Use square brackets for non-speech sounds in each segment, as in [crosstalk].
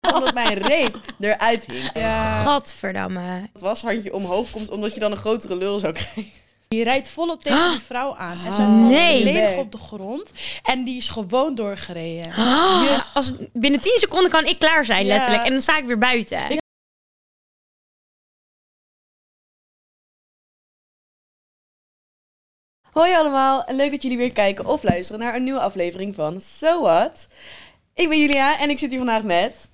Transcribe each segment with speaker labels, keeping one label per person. Speaker 1: omdat mijn reet eruit hing.
Speaker 2: Ja.
Speaker 3: [gasps] Gadverdamme.
Speaker 1: Het washandje omhoog komt, omdat je dan een grotere lul zou krijgen.
Speaker 2: Die rijdt volop tegen die vrouw aan. En zij
Speaker 3: Oh,
Speaker 2: valt
Speaker 3: Ah. nee.
Speaker 2: volledig
Speaker 1: Nee.
Speaker 2: op de grond. En die is gewoon doorgereden.
Speaker 3: Ah, Als, binnen 10 seconden kan ik klaar zijn,
Speaker 2: Ja.
Speaker 3: letterlijk. En dan sta ik weer buiten.
Speaker 1: Hoi allemaal, en leuk dat jullie weer kijken of luisteren naar een nieuwe aflevering van So What. Ik ben Julia en ik zit hier vandaag met...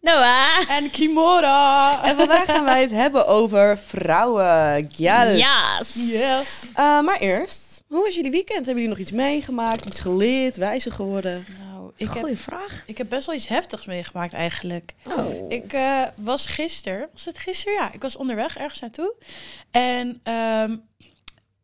Speaker 3: Noah.
Speaker 2: En Kimora.
Speaker 1: En vandaag gaan wij [laughs] het hebben over vrouwen. Gyal.
Speaker 3: Yes.
Speaker 2: Yes.
Speaker 1: Eh, maar eerst, hoe was jullie weekend? Hebben jullie nog iets meegemaakt, iets geleerd, wijzer geworden?
Speaker 2: Nou, ik heb,
Speaker 3: Goeie vraag.
Speaker 2: ik heb best wel iets heftigs meegemaakt eigenlijk.
Speaker 1: Oh.
Speaker 2: Ik eh, was gisteren, was het gisteren? Ja, ik was onderweg ergens naartoe. En ehm,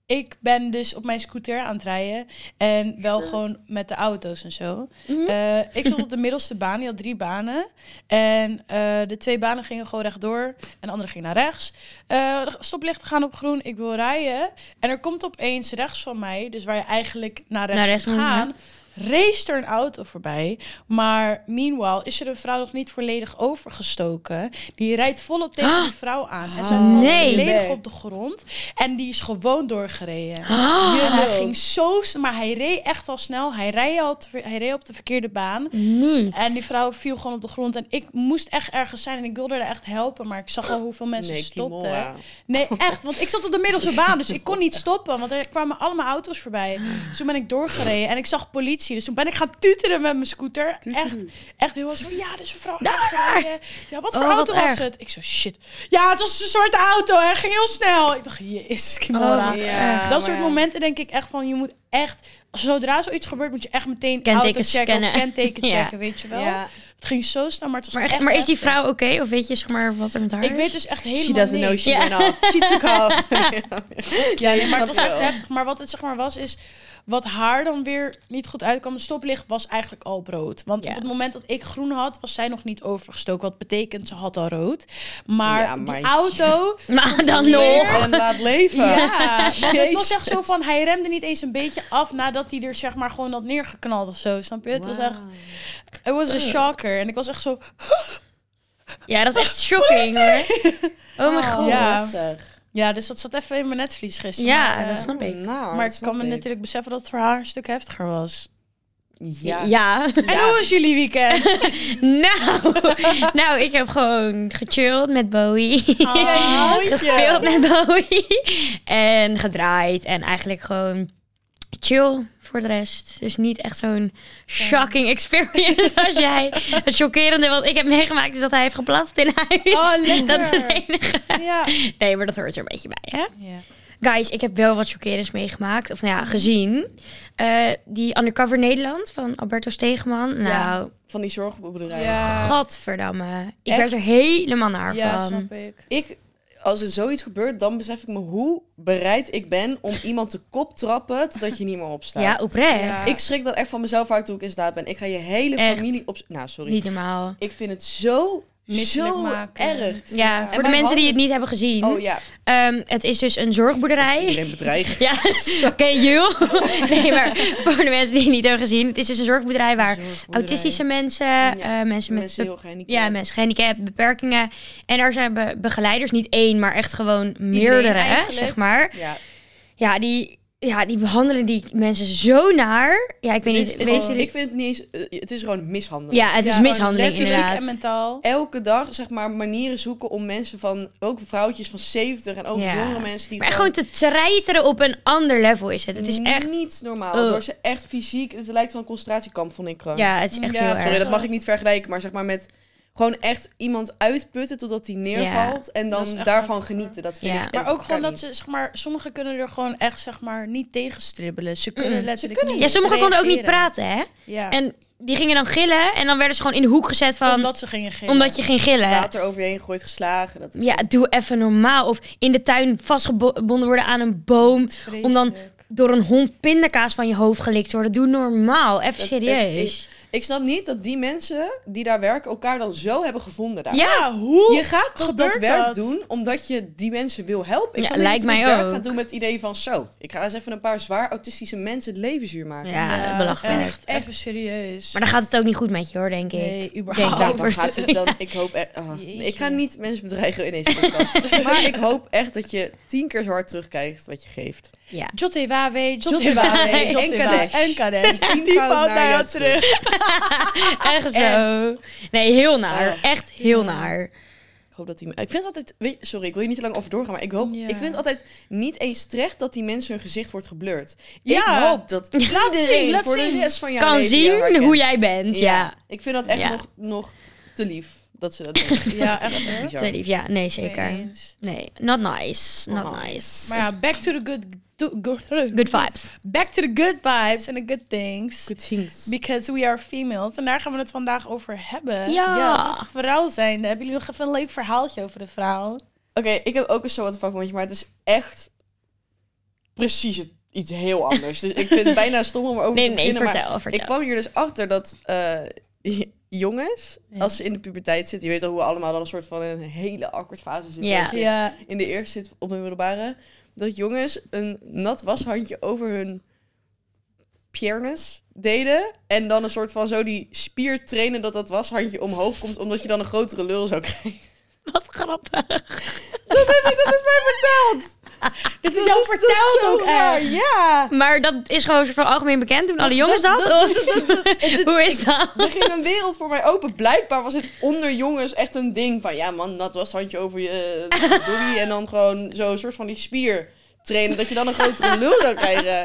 Speaker 2: ik ben dus op mijn scooter aan het rijden. En wel gewoon met de auto's en zo.
Speaker 1: Mhm.
Speaker 2: Eh, ik stond op de middelste baan, die had drie banen. En eh, de twee banen gingen gewoon rechtdoor en de andere ging naar rechts. Eh, de stoplichten gaan op groen, ik wil rijden. En er komt opeens rechts van mij, dus waar je eigenlijk naar rechts,
Speaker 3: Naar rechts
Speaker 2: moet
Speaker 3: moet,
Speaker 2: gaan... race er een auto voorbij. Maar meanwhile is er een vrouw nog niet volledig overgestoken. Die rijdt volop tegen die vrouw aan. En zij
Speaker 3: Ah,
Speaker 2: valt
Speaker 3: nee.
Speaker 2: volledig op de grond. En die is gewoon doorgereden.
Speaker 3: Ah,
Speaker 2: En hij
Speaker 1: Lul.
Speaker 2: ging zo... s- Maar hij reed echt al snel. Hij reed, al op de ver- hij reed op de verkeerde baan.
Speaker 3: [gasps] niet.
Speaker 2: En die vrouw viel gewoon op de grond. En ik moest echt ergens zijn. En ik wilde haar echt helpen. Maar ik zag al hoeveel mensen
Speaker 1: Nee,
Speaker 2: stopten.
Speaker 1: Kimora.
Speaker 2: Nee, echt. Want ik zat op de middelste baan. Dus ik kon
Speaker 3: [laughs]
Speaker 2: niet stoppen. Want er kwamen allemaal auto's voorbij. Dus toen ben ik doorgereden. En ik zag politie. Dus toen ben ik gaan tuteren met mijn scooter. Echt, echt heel erg zo van... Ja, dus een vrouw aangereden. Ja, wat voor
Speaker 3: Oh, wat
Speaker 2: auto was
Speaker 3: erg.
Speaker 2: het? Ik zo, shit. Ja, het was een soort auto. Hij ging heel snel. Ik dacht, jezus, Kimora.
Speaker 3: Oh, wat erg.
Speaker 2: Dat soort
Speaker 1: maar-
Speaker 2: momenten denk ik echt van... Je moet echt... Zodra zoiets gebeurt, moet je echt meteen
Speaker 3: Kentekens
Speaker 2: auto checken of
Speaker 3: scannen. [laughs]
Speaker 2: kenteken
Speaker 3: Ja.
Speaker 2: checken, weet je wel.
Speaker 1: Ja.
Speaker 2: Het ging zo snel, maar het was
Speaker 3: maar, echt,
Speaker 2: echt
Speaker 3: maar is die
Speaker 2: heftig.
Speaker 3: vrouw oké? Of weet je zeg maar wat er met haar
Speaker 2: Ik
Speaker 3: is?
Speaker 2: weet dus echt
Speaker 1: She
Speaker 2: helemaal
Speaker 1: doesn't
Speaker 2: niks.
Speaker 1: know she
Speaker 3: Ja.
Speaker 1: went off. She took [laughs] off.
Speaker 2: [laughs] Ja, nee, maar
Speaker 1: snap
Speaker 2: het was
Speaker 1: je
Speaker 2: echt
Speaker 1: wel.
Speaker 2: heftig. Maar wat het zeg maar was, is wat haar dan weer niet goed uitkwam. De stoplicht was eigenlijk al op rood. Want
Speaker 3: Ja.
Speaker 2: op het moment dat ik groen had, was zij nog niet overgestoken. Wat betekent, ze had al rood. Maar,
Speaker 1: Ja, maar-
Speaker 2: die auto...
Speaker 3: Maar dan nog.
Speaker 1: Leef en laat leven.
Speaker 2: Ja, want het was echt
Speaker 1: Jezus.
Speaker 2: zo van, hij remde niet eens een beetje af nadat hij er zeg maar gewoon had neergeknald of zo. Snap je? Het was echt, it was een shocker. En ik was echt zo,
Speaker 3: Ja, dat is [laughs] echt shocking hoor. Oh mijn god.
Speaker 2: Ja.
Speaker 1: Heftig.
Speaker 2: ja, dus dat zat even in mijn netvlies gisteren.
Speaker 3: Ja,
Speaker 2: Maar, eh,
Speaker 3: dat snap ik.
Speaker 1: Nou,
Speaker 2: Maar
Speaker 1: dat
Speaker 2: ik
Speaker 1: snap
Speaker 2: kan me natuurlijk beseffen dat het voor haar een stuk heftiger was.
Speaker 1: Ja.
Speaker 3: Ja. [laughs]
Speaker 2: En hoe was jullie weekend?
Speaker 3: Nou, [laughs] nou, ik heb gewoon gechilled met Bowie.
Speaker 2: Oh,
Speaker 3: gespeeld met Bowie. En gedraaid. En eigenlijk gewoon chill voor de rest. Dus niet echt zo'n shocking experience als jij. Het chockerende wat ik heb meegemaakt is dat hij heeft geplast in huis. [laughs]
Speaker 2: Oh, lekker.
Speaker 3: Dat is het enige.
Speaker 2: Ja.
Speaker 3: Nee, maar dat hoort er een beetje bij, hè?
Speaker 2: ja.
Speaker 3: Guys, ik heb wel wat chockerends meegemaakt. Of nou ja, gezien. Eh, die Undercover Nederland van Alberto Stegeman. Nou,
Speaker 1: Van die zorgbedrijven.
Speaker 3: gadverdamme. Ik
Speaker 1: Echt?
Speaker 3: werd er helemaal naar
Speaker 2: Ja,
Speaker 3: van.
Speaker 2: snap ik.
Speaker 1: Ik, als er zoiets gebeurt, dan besef ik me hoe bereid ik ben om iemand te kop trappen totdat je niet meer opstaat.
Speaker 3: Ja, oprecht.
Speaker 2: Ja.
Speaker 1: Ik schrik dat echt van mezelf uit hoe ik in staat ben. Ik ga je hele
Speaker 3: Echt.
Speaker 1: familie op... Nou, sorry.
Speaker 3: Niet normaal.
Speaker 1: Ik vind het zo,
Speaker 2: Misselijk
Speaker 1: zo
Speaker 2: maken.
Speaker 1: erg.
Speaker 3: Ja,
Speaker 2: En
Speaker 3: voor de
Speaker 1: wij
Speaker 3: mensen die
Speaker 1: hadden-
Speaker 3: het niet hebben gezien.
Speaker 1: Oh ja,
Speaker 3: Ehm, het is dus een
Speaker 1: [laughs]
Speaker 3: zorgboerderij.
Speaker 1: iedereen bedreigen.
Speaker 3: Ja, oké, Jul. Nee, maar voor de mensen die het niet hebben gezien. Het is dus een zorgboerderij waar autistische mensen, eh, mensen met...
Speaker 1: Mensen
Speaker 3: be-
Speaker 1: heel gehandicapt.
Speaker 3: ja, mensen gehandicapt, beperkingen. En daar zijn be- begeleiders, niet één, maar echt gewoon meerdere, hè,
Speaker 2: eigenlijk.
Speaker 3: zeg maar.
Speaker 1: Ja,
Speaker 3: Ja die, ja, die behandelen die mensen zo naar. Ja, ik weet
Speaker 1: Het is-
Speaker 3: niet,
Speaker 1: het-
Speaker 3: weet
Speaker 1: oh,
Speaker 3: jullie-
Speaker 1: ik vind het niet eens... eh, het is gewoon mishandeling.
Speaker 3: Ja, het is
Speaker 2: Ja,
Speaker 3: mishandeling
Speaker 2: Fysiek
Speaker 3: inderdaad.
Speaker 2: en mentaal.
Speaker 1: Elke dag, zeg maar, manieren zoeken om mensen van... Ook vrouwtjes van 70 en ook
Speaker 3: Ja.
Speaker 1: jongere mensen die
Speaker 3: Maar echt gewoon te treiteren op een ander level is het. Het is echt...
Speaker 1: niet normaal.
Speaker 3: Oh.
Speaker 1: Door ze echt fysiek... Het lijkt wel een concentratiekamp, vond ik gewoon.
Speaker 3: Ja, het is echt heel
Speaker 2: Ja, sorry,
Speaker 3: erg.
Speaker 1: Sorry, dat mag ik niet vergelijken, maar zeg maar met gewoon echt iemand uitputten totdat hij neervalt en
Speaker 2: Dat is
Speaker 1: dan
Speaker 2: echt
Speaker 1: daarvan
Speaker 2: hardcore.
Speaker 1: genieten. Dat vind
Speaker 3: Ja.
Speaker 1: ik.
Speaker 2: Maar ook gewoon dat
Speaker 1: ze.
Speaker 2: ze, zeg maar, sommigen kunnen er gewoon echt, zeg maar, niet tegen stribbelen. Ze kunnen
Speaker 3: Mm-mm.
Speaker 2: letterlijk niet
Speaker 3: Ja, sommigen konden ook niet
Speaker 2: reageren.
Speaker 3: praten, hè?
Speaker 2: Ja.
Speaker 3: En die gingen dan gillen en dan werden ze gewoon in de hoek gezet van... Omdat,
Speaker 2: omdat ze gingen geven.
Speaker 3: je ging gillen.
Speaker 1: Water over je heen gegooid, geslagen. Dat is
Speaker 3: Ja, doe even normaal. Of in de tuin vastgebonden worden aan een boom. Om dan door een hond pindakaas van je hoofd gelikt te worden. Doe normaal. Even
Speaker 1: Dat is echt-
Speaker 3: serieus.
Speaker 1: ik- Ik snap niet dat die mensen die daar werken elkaar dan zo hebben gevonden daar.
Speaker 2: Ja, hoe?
Speaker 1: Je gaat toch dat
Speaker 2: Oh, gebeurt
Speaker 1: werk
Speaker 2: dat?
Speaker 1: doen omdat je die mensen wil helpen? Ik
Speaker 3: Ja,
Speaker 1: snap niet
Speaker 3: lijkt
Speaker 1: dat je
Speaker 3: mij
Speaker 1: dat werk
Speaker 3: ook.
Speaker 1: gaat doen met het idee van zo, ik ga eens even een paar zwaar autistische mensen het leven zuur maken.
Speaker 3: Ja,
Speaker 2: Ja,
Speaker 3: belachelijk.
Speaker 2: Echt, even serieus.
Speaker 3: Maar dan gaat het ook niet goed met je hoor, denk ik.
Speaker 2: nee,
Speaker 3: Denk
Speaker 2: überhaupt.
Speaker 1: Oh,
Speaker 3: dat.
Speaker 1: waar gaat het
Speaker 3: [laughs]
Speaker 1: dan? Ik hoop echt. oh, nee,
Speaker 2: Jeetje.
Speaker 1: ik ga niet mensen bedreigen in deze
Speaker 2: [laughs]
Speaker 1: podcast. maar ik hoop echt dat je tien keer zo hard terugkrijgt wat je geeft.
Speaker 3: Ja.
Speaker 2: Jotte Wawe,
Speaker 1: Jotte
Speaker 2: Jotte
Speaker 1: Wawe,
Speaker 2: Wawe,
Speaker 1: en Kadesh.
Speaker 2: En
Speaker 3: [laughs]
Speaker 2: Kadesh.
Speaker 1: Tienvoud
Speaker 2: Die valt
Speaker 1: naar
Speaker 2: naar
Speaker 1: jou
Speaker 2: jou terug.
Speaker 3: Echt zo. Nee, heel naar. Echt heel naar.
Speaker 1: Ik hoop dat die. Ik vind het altijd. weet je- sorry, ik wil je niet te lang over doorgaan, maar ik hoop.
Speaker 2: Ja.
Speaker 1: Ik vind het altijd niet eens terecht dat die mensen hun gezicht wordt geblurred.
Speaker 2: Ja.
Speaker 1: Ik hoop dat
Speaker 2: Laat
Speaker 1: iedereen
Speaker 2: zien, laat
Speaker 1: voor de
Speaker 2: zien.
Speaker 1: rest van jouw
Speaker 3: Kan
Speaker 1: leven jou
Speaker 3: zien
Speaker 1: herkent.
Speaker 3: hoe jij bent. Ja.
Speaker 1: Ik vind dat echt
Speaker 3: Ja.
Speaker 1: nog, nog te lief dat
Speaker 3: [laughs]
Speaker 1: ze dat doen.
Speaker 2: Ja, echt hoor.
Speaker 1: Bizar.
Speaker 3: Te lief. Ja, nee, zeker.
Speaker 2: Eens.
Speaker 3: Nee, not nice. Not
Speaker 1: Oh.
Speaker 3: nice.
Speaker 2: Maar ja, back to the good, do- go- [laughs]
Speaker 3: Good vibes.
Speaker 2: back to the good vibes and the good things.
Speaker 1: Good things.
Speaker 2: Because we are females. En daar gaan we het vandaag over hebben.
Speaker 3: Ja.
Speaker 2: wat vrouw zijn. Hebben jullie nog even een leuk verhaaltje over de vrouw?
Speaker 1: Oké, ik heb ook een soort vakmondje, maar het is echt precies het- iets heel anders. Dus ik vind het bijna stom om erover
Speaker 3: Nee,
Speaker 1: te
Speaker 3: nee,
Speaker 1: beginnen. maar
Speaker 3: vertel, Oh, vertel.
Speaker 1: ik kwam hier dus achter dat eh, jongens,
Speaker 2: Ja.
Speaker 1: als ze in de puberteit zitten, je weet al hoe we allemaal dan een soort van in een hele awkward fase zitten.
Speaker 3: Ja.
Speaker 1: dat je
Speaker 2: Ja.
Speaker 1: In de eerste zit op hun middelbare. Dat jongens een nat washandje over hun piernes deden. En dan een soort van zo die spier trainen dat dat washandje omhoog komt, omdat je dan een grotere lul zou krijgen.
Speaker 3: Wat grappig.
Speaker 1: Dat heb ik, dat is mij [laughs] verteld.
Speaker 2: Dit is jou
Speaker 1: toch
Speaker 2: verteld
Speaker 1: zo
Speaker 2: ook
Speaker 1: raar,
Speaker 2: echt.
Speaker 1: Ja.
Speaker 3: Maar dat is gewoon zo van algemeen bekend. Doen alle jongens dat? Of [laughs] hoe is dat?
Speaker 1: Er ging een wereld voor mij open. Blijkbaar was het onder jongens echt een ding van... Ja man, dat was handje over je doei. En dan gewoon zo'n soort van die spier trainen. Dat je dan een grotere lul zou krijgen.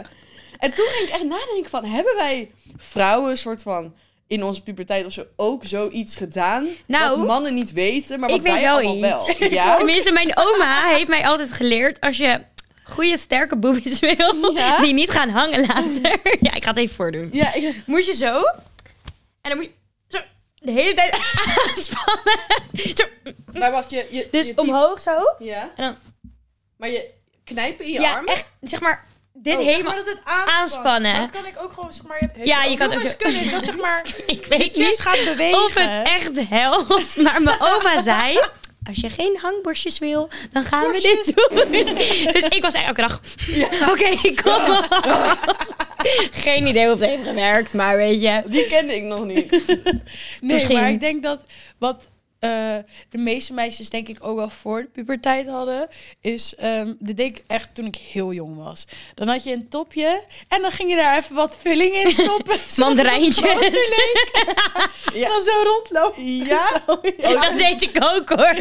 Speaker 1: En toen ging ik echt nadenken van... Hebben wij vrouwen soort van... In onze puberteit of zo ook zoiets gedaan.
Speaker 3: Nou,
Speaker 1: wat mannen niet weten, maar wat
Speaker 3: ik weet
Speaker 1: wij
Speaker 3: wel
Speaker 1: allemaal
Speaker 3: iets. [laughs]
Speaker 1: wel. Ja?
Speaker 3: Tenminste, mijn oma heeft mij altijd geleerd als je goede sterke boobies [laughs] wil,
Speaker 1: Ja?
Speaker 3: die niet gaan hangen later. [laughs] Ja, ik ga het even voordoen.
Speaker 1: Ja, ik-
Speaker 3: Moet je zo. En dan moet je zo de hele tijd [laughs] aanspannen. Zo.
Speaker 1: maar wacht, je... je
Speaker 3: Dus
Speaker 1: je tiet-
Speaker 3: omhoog zo.
Speaker 1: Ja.
Speaker 3: En dan,
Speaker 1: Maar je knijpen in je
Speaker 3: ja,
Speaker 1: armen?
Speaker 3: echt, zeg maar, dit
Speaker 2: Oh,
Speaker 3: helemaal.
Speaker 2: zeg maar dat het
Speaker 3: aanspannen.
Speaker 2: Dat kan ik ook gewoon, zeg maar. je hebt-
Speaker 3: Ja, je
Speaker 2: Ook
Speaker 3: kan ook
Speaker 2: jongens
Speaker 3: zo-
Speaker 2: kunnen, is dat zeg [laughs] maar.
Speaker 3: Ik weet
Speaker 2: Chest
Speaker 3: niet
Speaker 2: gaat bewegen.
Speaker 3: of het echt helpt, maar mijn oma zei... Als je geen hangborstjes wil, dan gaan we dit doen. Dus ik was elke dag... Oké, kom Geen idee of het heeft gewerkt, maar weet je...
Speaker 1: Die kende ik nog niet.
Speaker 2: Nee,
Speaker 3: Misschien.
Speaker 2: maar ik denk dat wat eh, de meeste meisjes denk ik ook wel voor de puberteit hadden, is, ehm dit deed ik echt toen ik heel jong was. Dan had je een topje en dan ging je daar even wat vulling in [laughs] stoppen. zodat het groter
Speaker 3: Mandarijntjes.
Speaker 2: leek.
Speaker 1: Ja.
Speaker 2: En dan zo rondlopen.
Speaker 1: Ja?
Speaker 2: [laughs] Zo, ja.
Speaker 3: Dat deed ik ook hoor.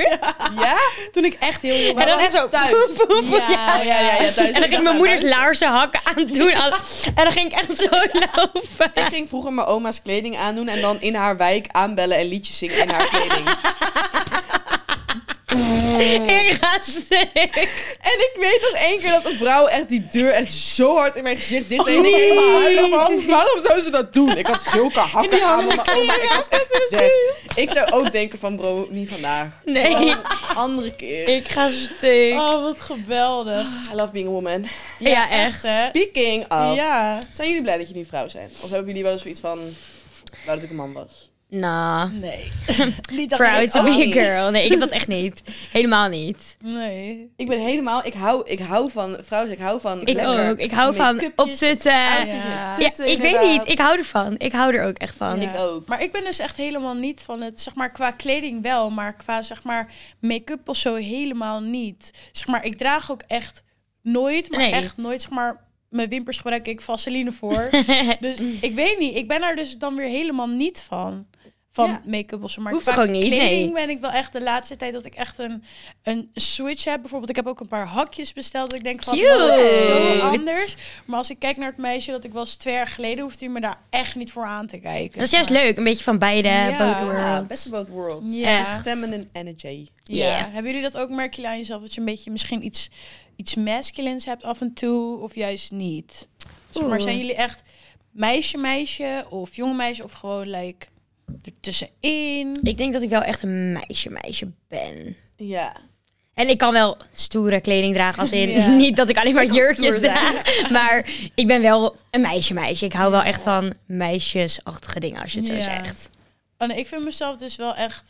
Speaker 1: Ja?
Speaker 2: Toen ik echt heel jong was.
Speaker 1: Maar
Speaker 3: dan
Speaker 1: was
Speaker 3: echt zo,
Speaker 1: het thuis.
Speaker 3: poep, poep,
Speaker 2: Ja,
Speaker 1: ja, ja, ja, thuis.
Speaker 3: En dan ging ik mijn moeders laarzen hakken aan doen. al- En dan ging ik echt zo lopen.
Speaker 1: Ik ging vroeger mijn oma's kleding aandoen en dan in haar wijk aanbellen en liedjes zingen in haar kleding.
Speaker 3: Ik ga [laughs] stuk.
Speaker 1: en ik weet nog één keer dat een vrouw echt die deur echt zo hard in mijn gezicht dicht deed. En ik helemaal huilen van, "Waarom- waarom zou ze dat doen? Ik had zulke hakken aan van mijn oma. Ik was echt zes. Ik zou ook denken van bro, niet vandaag.
Speaker 3: Nee,
Speaker 1: Andere keer.
Speaker 3: ik ga stuk.
Speaker 2: Oh, wat geweldig.
Speaker 1: I love being a woman.
Speaker 3: Ja, echt.
Speaker 2: hè?
Speaker 1: Speaking of.
Speaker 2: Ja.
Speaker 1: Zijn jullie blij dat jullie vrouw zijn? Of hebben jullie wel eens zoiets van, wou dat ik een man was?
Speaker 3: Nou,
Speaker 2: Nee. Niet dat ik-
Speaker 3: proud to
Speaker 1: ook
Speaker 3: be a
Speaker 1: niet.
Speaker 3: girl. oh, Nee, ik heb dat echt niet. Helemaal niet.
Speaker 2: Nee.
Speaker 1: Ik ben helemaal, ik hou, ik hou van vrouwen, ik hau van
Speaker 3: Ik
Speaker 1: lekker Oh,
Speaker 3: ook. Ik hou van
Speaker 1: make-upjes.
Speaker 3: optutten. Ja,
Speaker 2: Ja.
Speaker 3: ik weet niet. Ik hou ervan. Ik hou er ook echt van.
Speaker 1: Ik ook.
Speaker 2: Maar ik ben dus echt helemaal niet van het, zeg maar, qua kleding wel, maar qua, zeg maar, make-up of zo helemaal niet. Zeg maar, ik draag ook echt nooit, maar
Speaker 3: Nee.
Speaker 2: echt nooit, zeg maar, mijn wimpers gebruik ik vaseline
Speaker 3: [laughs]
Speaker 2: voor. dus ik weet niet, ik ben daar dus dan weer helemaal niet van. Van
Speaker 1: Ja.
Speaker 2: make-up of zo. Maar
Speaker 3: Hoeft
Speaker 2: qua
Speaker 3: toch ook niet?
Speaker 2: kleding
Speaker 3: Nee.
Speaker 2: ben ik wel echt de laatste tijd dat ik echt een, een switch heb. Bijvoorbeeld, ik heb ook een paar hakjes besteld. Ik denk van,
Speaker 3: Cute.
Speaker 2: wow, dat is zo anders. Maar als ik kijk naar het meisje dat ik was twee jaar geleden, hoeft hij me daar echt niet voor aan te kijken.
Speaker 3: Dat is juist leuk. Een beetje van beide.
Speaker 2: Ja.
Speaker 3: both
Speaker 1: Ja,
Speaker 3: worlds.
Speaker 1: best of both worlds.
Speaker 2: Ja.
Speaker 1: Echt Feminine energy.
Speaker 2: Ja.
Speaker 3: Ja.
Speaker 2: Hebben jullie dat ook, merk jullie aan jezelf, dat je een beetje misschien iets, iets masculines hebt af en toe, of juist niet? Zeg maar,
Speaker 3: Oeh.
Speaker 2: zijn jullie echt meisje, meisje, of jong meisje, of gewoon like ertussenin?
Speaker 3: Ik denk dat ik wel echt een meisje meisje ben.
Speaker 1: Ja.
Speaker 3: En ik kan wel stoere kleding dragen, als in [laughs]
Speaker 2: Ja.
Speaker 3: niet dat ik alleen maar
Speaker 1: Ik kan
Speaker 3: jurkjes
Speaker 1: stoer zijn.
Speaker 3: draag. Maar ik ben wel een meisje meisje. Ik hou wel echt van meisjesachtige dingen, als je het zo
Speaker 2: Ja.
Speaker 3: zegt.
Speaker 2: Oh, nee, ik vind mezelf dus wel echt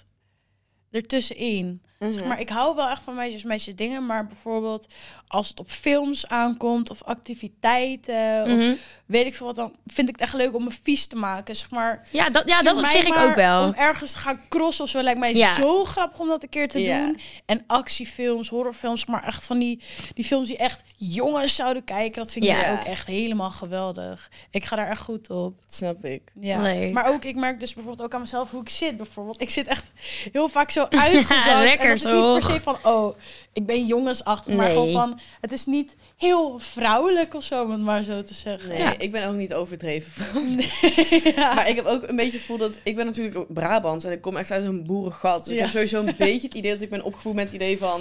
Speaker 2: ertussenin. Zeg maar ik hou wel echt van meisjes, meisjes dingen. Maar bijvoorbeeld als het op films aankomt of activiteiten of
Speaker 3: Mhm.
Speaker 2: weet ik veel wat, dan vind ik het echt leuk om me vies te maken. Zeg maar,
Speaker 3: Ja, dat, ja,
Speaker 2: stuur
Speaker 3: dat op
Speaker 2: mij
Speaker 3: zich ik
Speaker 2: maar
Speaker 3: ook wel.
Speaker 2: Om ergens te gaan crossen of zo lijkt mij
Speaker 3: Ja.
Speaker 2: zo grappig om dat een keer te
Speaker 1: Ja.
Speaker 2: doen. En actiefilms, horrorfilms, maar echt van die, die films die echt jongens zouden kijken. Dat vind ik
Speaker 3: Ja.
Speaker 2: dus ook echt helemaal geweldig. Ik ga daar echt goed op.
Speaker 1: Dat snap ik.
Speaker 2: Ja,
Speaker 3: Leuk.
Speaker 2: maar ook ik merk dus bijvoorbeeld ook aan mezelf hoe ik zit bijvoorbeeld. Ik zit echt heel vaak zo [laughs] uitgezakt.
Speaker 3: Lekker
Speaker 2: en het is
Speaker 3: zo.
Speaker 2: niet per se van, oh, ik ben jongensachtig. Maar
Speaker 3: Nee.
Speaker 2: gewoon van, het is niet heel vrouwelijk of zo, om het maar zo te zeggen.
Speaker 1: Nee,
Speaker 3: Ja.
Speaker 1: ik ben ook niet overdreven. van- [laughs]
Speaker 2: Ja.
Speaker 1: Maar ik heb ook een beetje het gevoel dat... Ik ben natuurlijk ook Brabants en ik kom echt uit een boerengat. Dus ik
Speaker 2: Ja.
Speaker 1: heb sowieso een beetje het idee dat ik ben opgevoed met het idee van...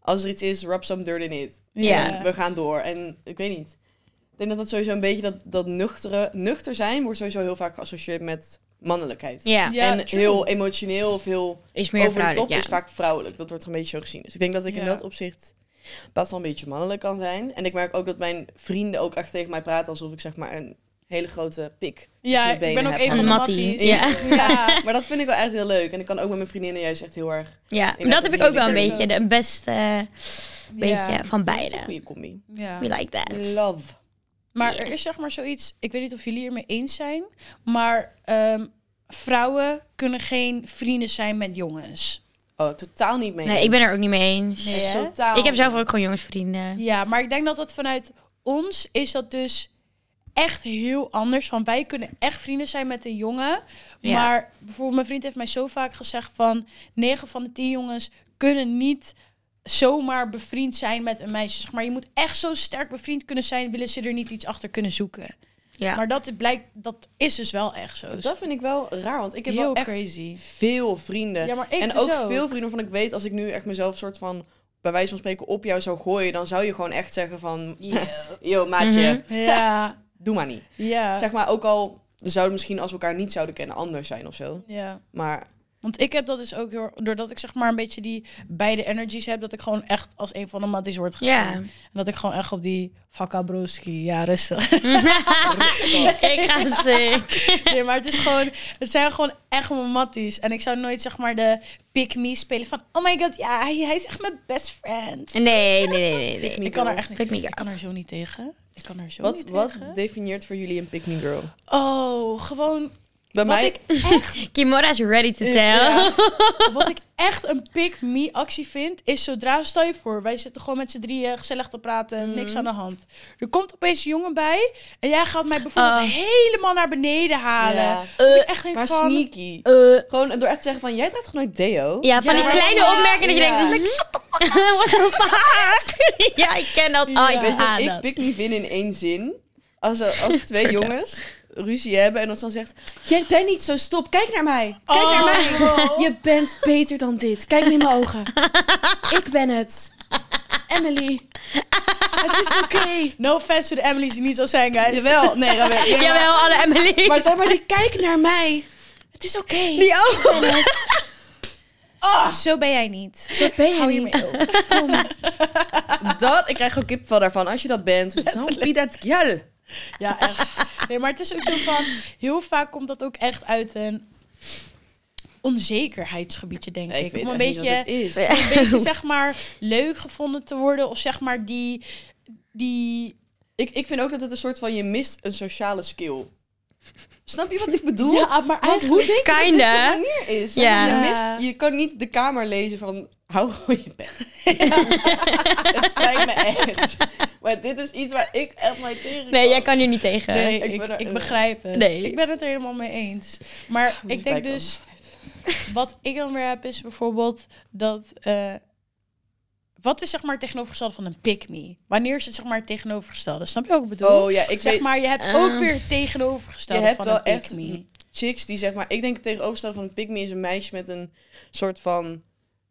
Speaker 1: Als er iets is, rub some dirt in it.
Speaker 3: Ja.
Speaker 1: En we gaan door. En ik weet niet. Ik denk dat dat sowieso een beetje dat, dat nuchtere, nuchter zijn... wordt sowieso heel vaak geassocieerd met mannelijkheid.
Speaker 3: Ja,
Speaker 2: Ja,
Speaker 1: en
Speaker 2: true.
Speaker 1: heel emotioneel of heel
Speaker 3: is meer
Speaker 1: over de top
Speaker 3: vrouwelijk. Ja.
Speaker 1: is vaak vrouwelijk. Dat wordt er een beetje zo gezien. Dus ik denk dat ik in
Speaker 2: Ja.
Speaker 1: dat opzicht best wel een beetje mannelijk kan zijn. En ik merk ook dat mijn vrienden ook echt tegen mij praten alsof ik zeg maar een hele grote pik. tussen
Speaker 2: ja,
Speaker 1: mijn
Speaker 2: ik
Speaker 1: benen
Speaker 2: ben ook
Speaker 1: heb
Speaker 2: een van de
Speaker 3: Een
Speaker 1: hangen.
Speaker 3: matties.
Speaker 2: matties.
Speaker 1: Ja.
Speaker 2: Ja.
Speaker 1: Maar dat vind ik wel echt heel leuk. En ik kan ook met mijn vriendinnen juist echt heel erg.
Speaker 3: ja,
Speaker 1: denk
Speaker 3: dat
Speaker 1: dat
Speaker 3: heb ik
Speaker 1: die
Speaker 3: ook wel een
Speaker 1: lekker-
Speaker 3: beetje. De beste eh, beetje van
Speaker 1: Dat is een
Speaker 3: beide.
Speaker 1: goede combi.
Speaker 2: Ja.
Speaker 3: We like that.
Speaker 1: Love.
Speaker 2: Maar
Speaker 3: Ja.
Speaker 2: er is zeg maar zoiets, ik weet niet of jullie hiermee eens zijn, maar ehm, vrouwen kunnen geen vrienden zijn met jongens.
Speaker 1: Oh, totaal niet mee.
Speaker 3: Nee, ik ben er ook niet mee eens.
Speaker 2: Nee, hè?
Speaker 1: totaal.
Speaker 3: Ik heb zelf
Speaker 1: niet.
Speaker 3: ook gewoon jongensvrienden.
Speaker 2: Ja, maar ik denk dat dat vanuit ons is dat dus echt heel anders. Want wij kunnen echt vrienden zijn met een jongen.
Speaker 3: Ja.
Speaker 2: Maar bijvoorbeeld mijn vriend heeft mij zo vaak gezegd van... 9 van de 10 jongens kunnen niet zomaar bevriend zijn met een meisje. Zeg maar je moet echt zo sterk bevriend kunnen zijn... willen ze er niet iets achter kunnen zoeken.
Speaker 3: Ja.
Speaker 2: Maar dat, blijkt, dat is dus wel echt zo.
Speaker 1: Dat vind ik wel raar, want ik heb
Speaker 2: heel
Speaker 1: wel echt
Speaker 2: crazy.
Speaker 1: veel vrienden.
Speaker 2: Ja, maar ik
Speaker 1: en
Speaker 2: dus
Speaker 1: ook
Speaker 2: ook.
Speaker 1: veel vrienden van ik weet, als ik nu echt mezelf soort van bij wijze van spreken op jou zou gooien, dan zou je gewoon echt zeggen van, [laughs] yo maatje,
Speaker 3: Mhm.
Speaker 2: [laughs] Ja,
Speaker 1: doe maar niet.
Speaker 2: ja.
Speaker 1: Zeg maar ook al zouden misschien als we elkaar niet zouden kennen anders zijn of zo.
Speaker 2: ja. [laughs]
Speaker 1: Maar
Speaker 2: Want ik heb dat dus ook heel, doordat ik zeg maar een beetje die beide energies heb, dat ik gewoon echt als een van de matties word gezien. [laughs]
Speaker 3: Ja.
Speaker 2: En dat ik gewoon echt op die vakabroski, ja rustig. [laughs]
Speaker 3: ik ga stuk.
Speaker 2: nee, maar het is gewoon, het zijn gewoon echt mijn matties. En ik zou nooit zeg maar de pick me spelen van, oh my god, ja, hij, hij is echt mijn best friend.
Speaker 3: Nee, nee, nee, nee. nee.
Speaker 2: Ik kan er echt niet,
Speaker 3: Pick me girl.
Speaker 2: ik kan er zo niet tegen. Ik kan er zo
Speaker 1: wat,
Speaker 2: niet
Speaker 1: wat
Speaker 2: tegen.
Speaker 1: definieert voor jullie een pick me girl?
Speaker 2: Oh, gewoon
Speaker 1: Bij mij,
Speaker 2: ik
Speaker 3: Kimora's ready to tell.
Speaker 2: Ja. Wat ik echt een pick-me actie vind, is zodra, stel je voor, wij zitten gewoon met z'n drieën gezellig te praten,
Speaker 1: Mhm.
Speaker 2: niks aan de hand. Er komt opeens een jongen bij en jij gaat mij bijvoorbeeld
Speaker 3: Oh.
Speaker 2: helemaal naar beneden halen.
Speaker 1: Ah. Ja. Eh,
Speaker 2: Dat ik echt denk
Speaker 1: maar
Speaker 2: van,
Speaker 1: sneaky.
Speaker 3: Eh,
Speaker 1: Gewoon door echt te zeggen van, jij draagt gewoon nooit deo?
Speaker 3: ja, van die
Speaker 2: Ja.
Speaker 3: kleine
Speaker 2: Ja.
Speaker 3: opmerkingen dat je
Speaker 2: Ja.
Speaker 3: denkt... "Shut the fuck up." [laughs] What the fuck? [laughs] ja, ik ken dat. Oh, ik
Speaker 1: Weet je,
Speaker 3: haat
Speaker 1: ik
Speaker 3: dat.
Speaker 1: pik me vin in één zin. Als, er-
Speaker 3: [laughs]
Speaker 1: als er twee
Speaker 3: Vertel.
Speaker 1: jongens ruzie hebben en ons dan zegt... Jij bent niet zo stop, kijk naar mij. Kijk
Speaker 2: Oh,
Speaker 1: naar mij.
Speaker 2: [laughs] wow.
Speaker 1: Je bent beter dan dit. Kijk me in mijn ogen. Ik ben het. Emily. Het is oké.
Speaker 2: No offense to the Emily's die niet zo zijn, guys.
Speaker 1: Jawel. Nee,
Speaker 2: [laughs]
Speaker 1: Rabé. Ja, maar-
Speaker 3: Jawel, alle Emily's.
Speaker 1: Maar zeg maar, die kijk naar mij. Het is oké.
Speaker 3: die ook.
Speaker 2: Zo ben jij niet.
Speaker 1: Zo ben je
Speaker 2: Hou je
Speaker 1: niet. Kom.
Speaker 2: [laughs]
Speaker 1: Dat, ik krijg gewoon kipval daarvan. Als je dat
Speaker 3: [laughs]
Speaker 1: bent, don't be that girl.
Speaker 2: Ja, echt. Nee, maar het is ook zo van, heel vaak komt dat ook echt uit een onzekerheidsgebiedje, denk ik. Om een beetje...
Speaker 1: is. [laughs]
Speaker 2: een beetje zeg maar leuk gevonden te worden of zeg maar die die
Speaker 1: Ik, ik vind ook dat het een soort van, je mist een sociale skill. Snap je wat
Speaker 3: [laughs]
Speaker 1: ik bedoel?
Speaker 2: maar
Speaker 1: Want hoe denk je dat dit
Speaker 3: Kinda.
Speaker 1: de manier is?
Speaker 3: Ja.
Speaker 1: Je, mist, je kan niet de kamer lezen van, hou gewoon je bek. Het spijt me echt. Maar dit is iets waar ik echt mijn tegen
Speaker 3: Nee,
Speaker 1: kan.
Speaker 3: jij kan hier niet tegen.
Speaker 2: nee,
Speaker 1: ik
Speaker 2: ik,
Speaker 1: ben er-
Speaker 2: ik begrijp het.
Speaker 3: Nee.
Speaker 2: Ik ben het er helemaal mee eens. Maar
Speaker 1: Moet
Speaker 2: ik
Speaker 1: je
Speaker 2: denk
Speaker 1: bijkomen.
Speaker 2: dus wat ik dan weer heb is bijvoorbeeld dat eh, wat is zeg maar het tegenovergestelde van een pick me? Wanneer is het zeg maar het tegenovergestelde? Snap je wat ik bedoel?
Speaker 1: Oh ja, ik
Speaker 2: zeg
Speaker 1: weet
Speaker 2: maar je hebt ook
Speaker 3: Ehm,
Speaker 2: weer het tegenovergestelde
Speaker 1: je hebt
Speaker 2: van
Speaker 1: wel
Speaker 2: een pick
Speaker 1: echt
Speaker 2: me.
Speaker 1: chicks die zeg maar... Ik denk het tegenovergestelde van een pygmy is een meisje met een soort van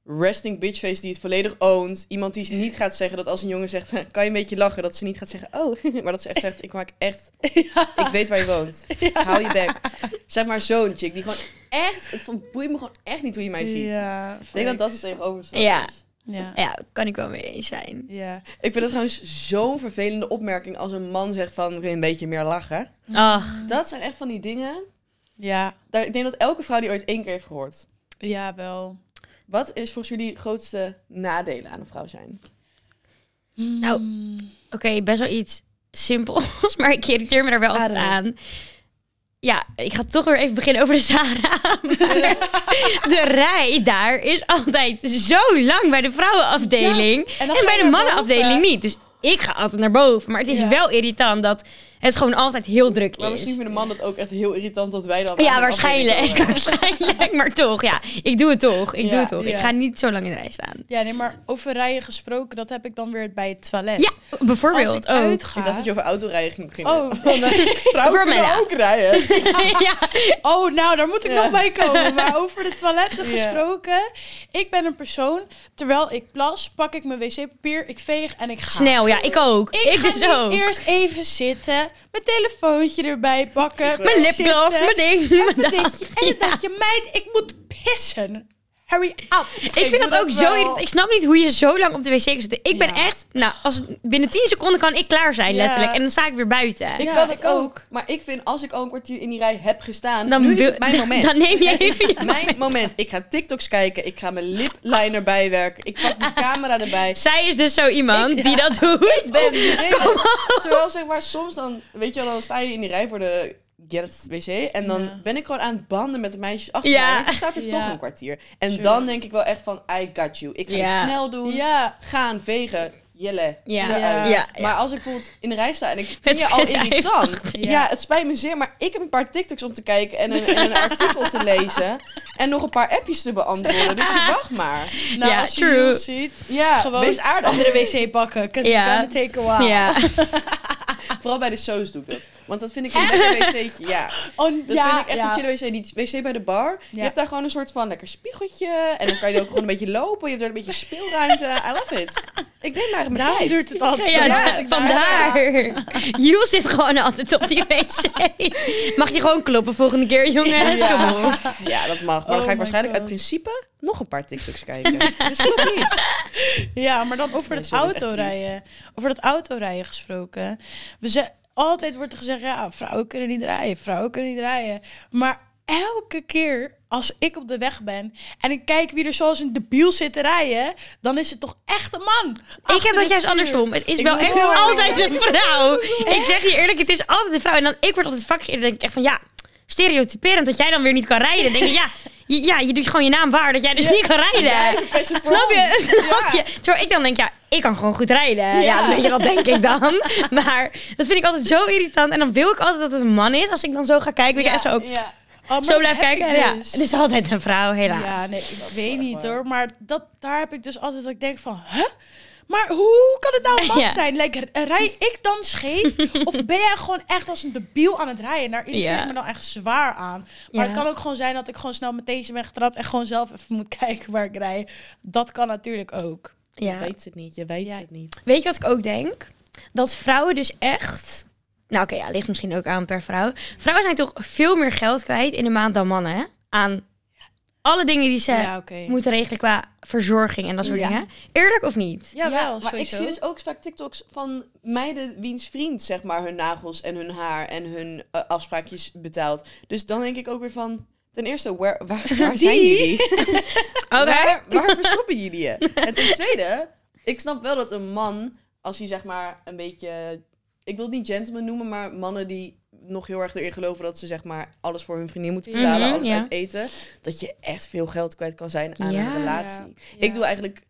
Speaker 1: resting bitch face die het volledig ownt. Iemand die niet gaat zeggen dat als een jongen zegt, [laughs] kan je een beetje lachen, dat ze niet gaat zeggen, oh. [laughs] Maar dat ze echt zegt, ik maak echt... Ik weet waar je woont. Hou je bek. Zeg maar zo'n chick die gewoon echt... Het van- boeit me gewoon echt niet hoe je mij ziet.
Speaker 2: Ja,
Speaker 1: Ik denk dat dat het tegenovergestelde
Speaker 3: Ja.
Speaker 1: is.
Speaker 2: Ja.
Speaker 3: Ja, kan ik wel mee eens zijn.
Speaker 2: Ja.
Speaker 1: Ik vind het trouwens zo'n vervelende opmerking als een man zegt van, wil je een beetje meer lachen?
Speaker 3: Ach,
Speaker 1: Dat zijn echt van die dingen.
Speaker 2: Ja.
Speaker 1: Daar, ik denk dat elke vrouw die ooit één keer heeft gehoord.
Speaker 2: Ja, wel.
Speaker 1: Wat is volgens jullie grootste nadelen aan een vrouw zijn?
Speaker 3: Nou,
Speaker 2: Hmm.
Speaker 3: oké, best wel iets simpels, [laughs] maar ik irriteer me daar wel altijd aan. Ja, ik ga toch weer even beginnen over de
Speaker 2: [laughs]
Speaker 3: Zara. de rij daar is altijd zo lang bij de vrouwenafdeling.
Speaker 2: en,
Speaker 3: En bij de mannenafdeling niet. Dus ik ga altijd naar boven. Maar het is
Speaker 2: Ja.
Speaker 3: wel irritant dat het gewoon altijd heel druk
Speaker 1: Maar misschien
Speaker 3: is.
Speaker 1: vinden mannen het ook echt heel irritant dat wij dan... aan
Speaker 3: Ja,
Speaker 1: de afdeling
Speaker 3: waarschijnlijk. [laughs]
Speaker 1: horen.
Speaker 3: waarschijnlijk. Maar toch, ja. Ik doe het toch. Ik
Speaker 1: Ja,
Speaker 3: doe het toch.
Speaker 2: ja.
Speaker 3: Ik ga niet zo lang in de rij staan.
Speaker 2: Ja, nee, maar over rijen gesproken, dat heb ik dan weer bij het toilet.
Speaker 3: Ja, Oh,
Speaker 2: Als
Speaker 3: bijvoorbeeld
Speaker 2: ik
Speaker 3: ook.
Speaker 2: uitga...
Speaker 1: Ik dacht dat je over autorijden ging beginnen.
Speaker 2: Oh, nee.
Speaker 1: vrouwen
Speaker 3: Voor
Speaker 1: kunnen
Speaker 3: mannen.
Speaker 1: ook rijden.
Speaker 3: [laughs] ja.
Speaker 2: oh, nou, daar moet ik
Speaker 1: Ja.
Speaker 2: nog bij komen. Maar over de toiletten
Speaker 1: Ja.
Speaker 2: gesproken. Ik ben een persoon, terwijl ik plas, pak ik mijn wc-papier, ik veeg en ik ga.
Speaker 3: Snel, ja. Ik ook. Ik,
Speaker 2: Ik, ga
Speaker 3: dus
Speaker 2: niet
Speaker 3: ook.
Speaker 2: eerst even zitten, mijn telefoontje erbij pakken.
Speaker 3: Mijn
Speaker 2: zitten,
Speaker 3: lipgloss, mijn ding.
Speaker 2: en
Speaker 3: mijn
Speaker 2: dan
Speaker 3: dat. [laughs]
Speaker 2: denk je- En dan dacht je, meid, ik moet pissen. Hurry up.
Speaker 3: Ik vind
Speaker 1: doe
Speaker 3: dat ook
Speaker 1: dat
Speaker 3: zo
Speaker 1: wel.
Speaker 3: irritant. Ik snap niet hoe je zo lang op de wc kan zitten. Ik ben
Speaker 2: Ja.
Speaker 3: echt... Nou, als, binnen 10 seconden kan ik klaar zijn,
Speaker 2: Ja.
Speaker 3: letterlijk. En dan sta ik weer buiten.
Speaker 1: Ik
Speaker 2: Ja,
Speaker 1: kan het
Speaker 2: ik
Speaker 1: ook.
Speaker 2: ook.
Speaker 1: Maar ik vind als ik al een kwartier in die rij heb gestaan,
Speaker 3: [laughs] Dan
Speaker 1: nu is
Speaker 3: wil-
Speaker 1: het mijn moment.
Speaker 3: Dan neem jij even je
Speaker 1: mijn moment. Ik ga TikToks kijken. Ik ga mijn lipliner bijwerken. Ik pak die camera erbij.
Speaker 3: Zij is dus zo iemand die dat doet. [laughs]
Speaker 1: Ben die Terwijl zeg maar soms dan, weet je wel, dan sta je in die rij voor de Gerrit wc en dan
Speaker 2: Ja.
Speaker 1: ben ik gewoon aan het banden met de meisjes achter
Speaker 3: Ja.
Speaker 1: mij. En dan staat er
Speaker 2: Ja.
Speaker 1: toch een kwartier. En
Speaker 2: True.
Speaker 1: dan denk ik wel echt van, I got you. Ik ga
Speaker 3: Ja.
Speaker 1: het snel doen.
Speaker 2: Ja.
Speaker 1: Gaan vegen. Jelle.
Speaker 3: Ja.
Speaker 1: eruit.
Speaker 3: Ja, ja.
Speaker 1: Maar als ik bijvoorbeeld in de rij sta en ik vind
Speaker 3: Met
Speaker 1: je al
Speaker 3: kut
Speaker 1: irritant. Ja.
Speaker 2: Ja.
Speaker 1: het spijt me zeer, maar ik heb een paar TikToks om te kijken en een, en een artikel te lezen. En nog een paar appjes te beantwoorden. Dus je wacht maar.
Speaker 2: Nou,
Speaker 3: Ja,
Speaker 2: als je
Speaker 3: true.
Speaker 2: Jules ziet,
Speaker 1: Ja,
Speaker 2: gewoon
Speaker 1: wees aardig.
Speaker 2: andere wc pakken. Cause
Speaker 3: Ja.
Speaker 2: it's gonna take a while.
Speaker 3: Ja.
Speaker 1: Vooral bij de soos doe ik dat. Want dat vind ik een lekker wc'tje, ja.
Speaker 2: Oh,
Speaker 1: Dat
Speaker 2: ja,
Speaker 1: vind ik echt
Speaker 2: ja.
Speaker 1: een chille wc. Die wc bij de bar. Je
Speaker 2: Ja.
Speaker 1: hebt daar gewoon een soort van lekker spiegeltje. En dan kan je ook gewoon een beetje lopen. Je hebt daar een beetje speelruimte. I love it. Ik neem maar mijn
Speaker 2: Daarom
Speaker 1: tijd.
Speaker 2: duurt
Speaker 3: [laughs]
Speaker 2: het altijd
Speaker 3: Ja,
Speaker 2: zo lang
Speaker 3: da-
Speaker 2: als ik daar
Speaker 3: vandaar. Jules zit gewoon altijd op die wc. Mag je gewoon kloppen volgende keer, jongens?
Speaker 1: Ja.
Speaker 3: Kom op.
Speaker 1: Ja, dat mag. Maar dan
Speaker 2: Oh
Speaker 1: ga ik
Speaker 2: my
Speaker 1: waarschijnlijk uit
Speaker 2: God.
Speaker 1: principe nog een paar TikToks kijken. dus klopt niet.
Speaker 2: Ja, maar dan over
Speaker 1: Nee,
Speaker 2: het
Speaker 1: sorry, dat is echt
Speaker 2: autorijden. Over het autorijden gesproken. We ze altijd wordt er gezegd, ja, vrouwen kunnen niet rijden, vrouwen kunnen niet rijden. Maar elke keer als ik op de weg ben en ik kijk wie er zoals een debiel zit te rijden, dan is het toch echt een man.
Speaker 3: Ik heb
Speaker 2: Achter
Speaker 3: dat
Speaker 2: het
Speaker 3: juist
Speaker 2: stuur.
Speaker 3: andersom. Het is
Speaker 1: Ik
Speaker 3: wel
Speaker 1: moet
Speaker 3: echt
Speaker 1: wel-
Speaker 3: altijd een vrouw. Ik zeg je eerlijk, het is altijd een vrouw. En dan, ik word altijd vaak denk ik echt van, ja, stereotyperend dat jij dan weer niet kan rijden. Dan denk ik, ja, je, ja, je doet gewoon je naam waar dat jij dus niet kan rijden. Snap je? [laughs] Snap je? Terwijl ik dan denk, ja, ik kan gewoon goed rijden. Ja,
Speaker 1: Ja.
Speaker 3: weet je, dat denk ik dan. [laughs] Maar dat vind ik altijd zo irritant. En dan wil ik altijd dat het een man is. Als ik dan zo ga kijken, weet je, en zo, ook
Speaker 1: Ja.
Speaker 2: Oh, maar
Speaker 3: zo
Speaker 2: dat
Speaker 3: blijf
Speaker 2: heb
Speaker 3: kijken.
Speaker 2: ik
Speaker 3: Ja,
Speaker 2: dus.
Speaker 3: het is altijd een vrouw, helaas.
Speaker 2: Ja, nee, ik weet
Speaker 1: echt
Speaker 2: niet
Speaker 1: waar.
Speaker 2: hoor. Maar dat, daar heb ik dus altijd dat ik denk van, huh? Maar hoe kan het nou een man
Speaker 3: [laughs] Ja.
Speaker 2: zijn? Like, r- rij ik dan
Speaker 3: [laughs]
Speaker 2: scheef? of ben jij gewoon echt als een debiel aan het rijden? Daar irriteer
Speaker 3: Ja.
Speaker 2: ik me dan echt zwaar aan. Maar
Speaker 3: Ja.
Speaker 2: het kan ook gewoon zijn dat ik gewoon snel met deze ben getrapt... en gewoon zelf even moet [laughs] kijken waar ik rij. Dat kan natuurlijk ook.
Speaker 3: Ja.
Speaker 1: Je weet het niet. Je weet
Speaker 2: Ja.
Speaker 1: het niet.
Speaker 3: Weet je wat ik ook denk? Dat vrouwen dus echt. Nou, oké, ja, ligt misschien ook aan per vrouw. Vrouwen zijn toch veel meer geld kwijt in de maand dan mannen. Hè? Aan alle dingen die ze
Speaker 2: Ja, oké.
Speaker 3: moeten regelen qua verzorging en dat soort
Speaker 1: Ja.
Speaker 3: dingen. Eerlijk of niet?
Speaker 2: Ja, wel,
Speaker 1: maar ik
Speaker 2: sowieso.
Speaker 1: zie dus ook vaak TikToks van meiden wiens vriend zeg maar hun nagels en hun haar en hun eh, afspraakjes betaalt. Dus dan denk ik ook weer van, ten eerste, waar, waar, waar zijn
Speaker 2: [laughs] Die?
Speaker 1: jullie?
Speaker 3: Oké.
Speaker 1: Waar, waar verstoppen jullie je? En ten tweede, ik snap wel dat een man, als hij zeg maar een beetje, ik wil het niet gentleman noemen, maar mannen die nog heel erg erin geloven dat ze zeg maar alles voor hun vriendin moeten betalen,
Speaker 3: Mhm,
Speaker 1: alles
Speaker 3: ja.
Speaker 1: uit eten, dat je echt veel geld kwijt kan zijn aan
Speaker 3: Ja.
Speaker 1: een relatie.
Speaker 2: Ja.
Speaker 1: Ik doe eigenlijk,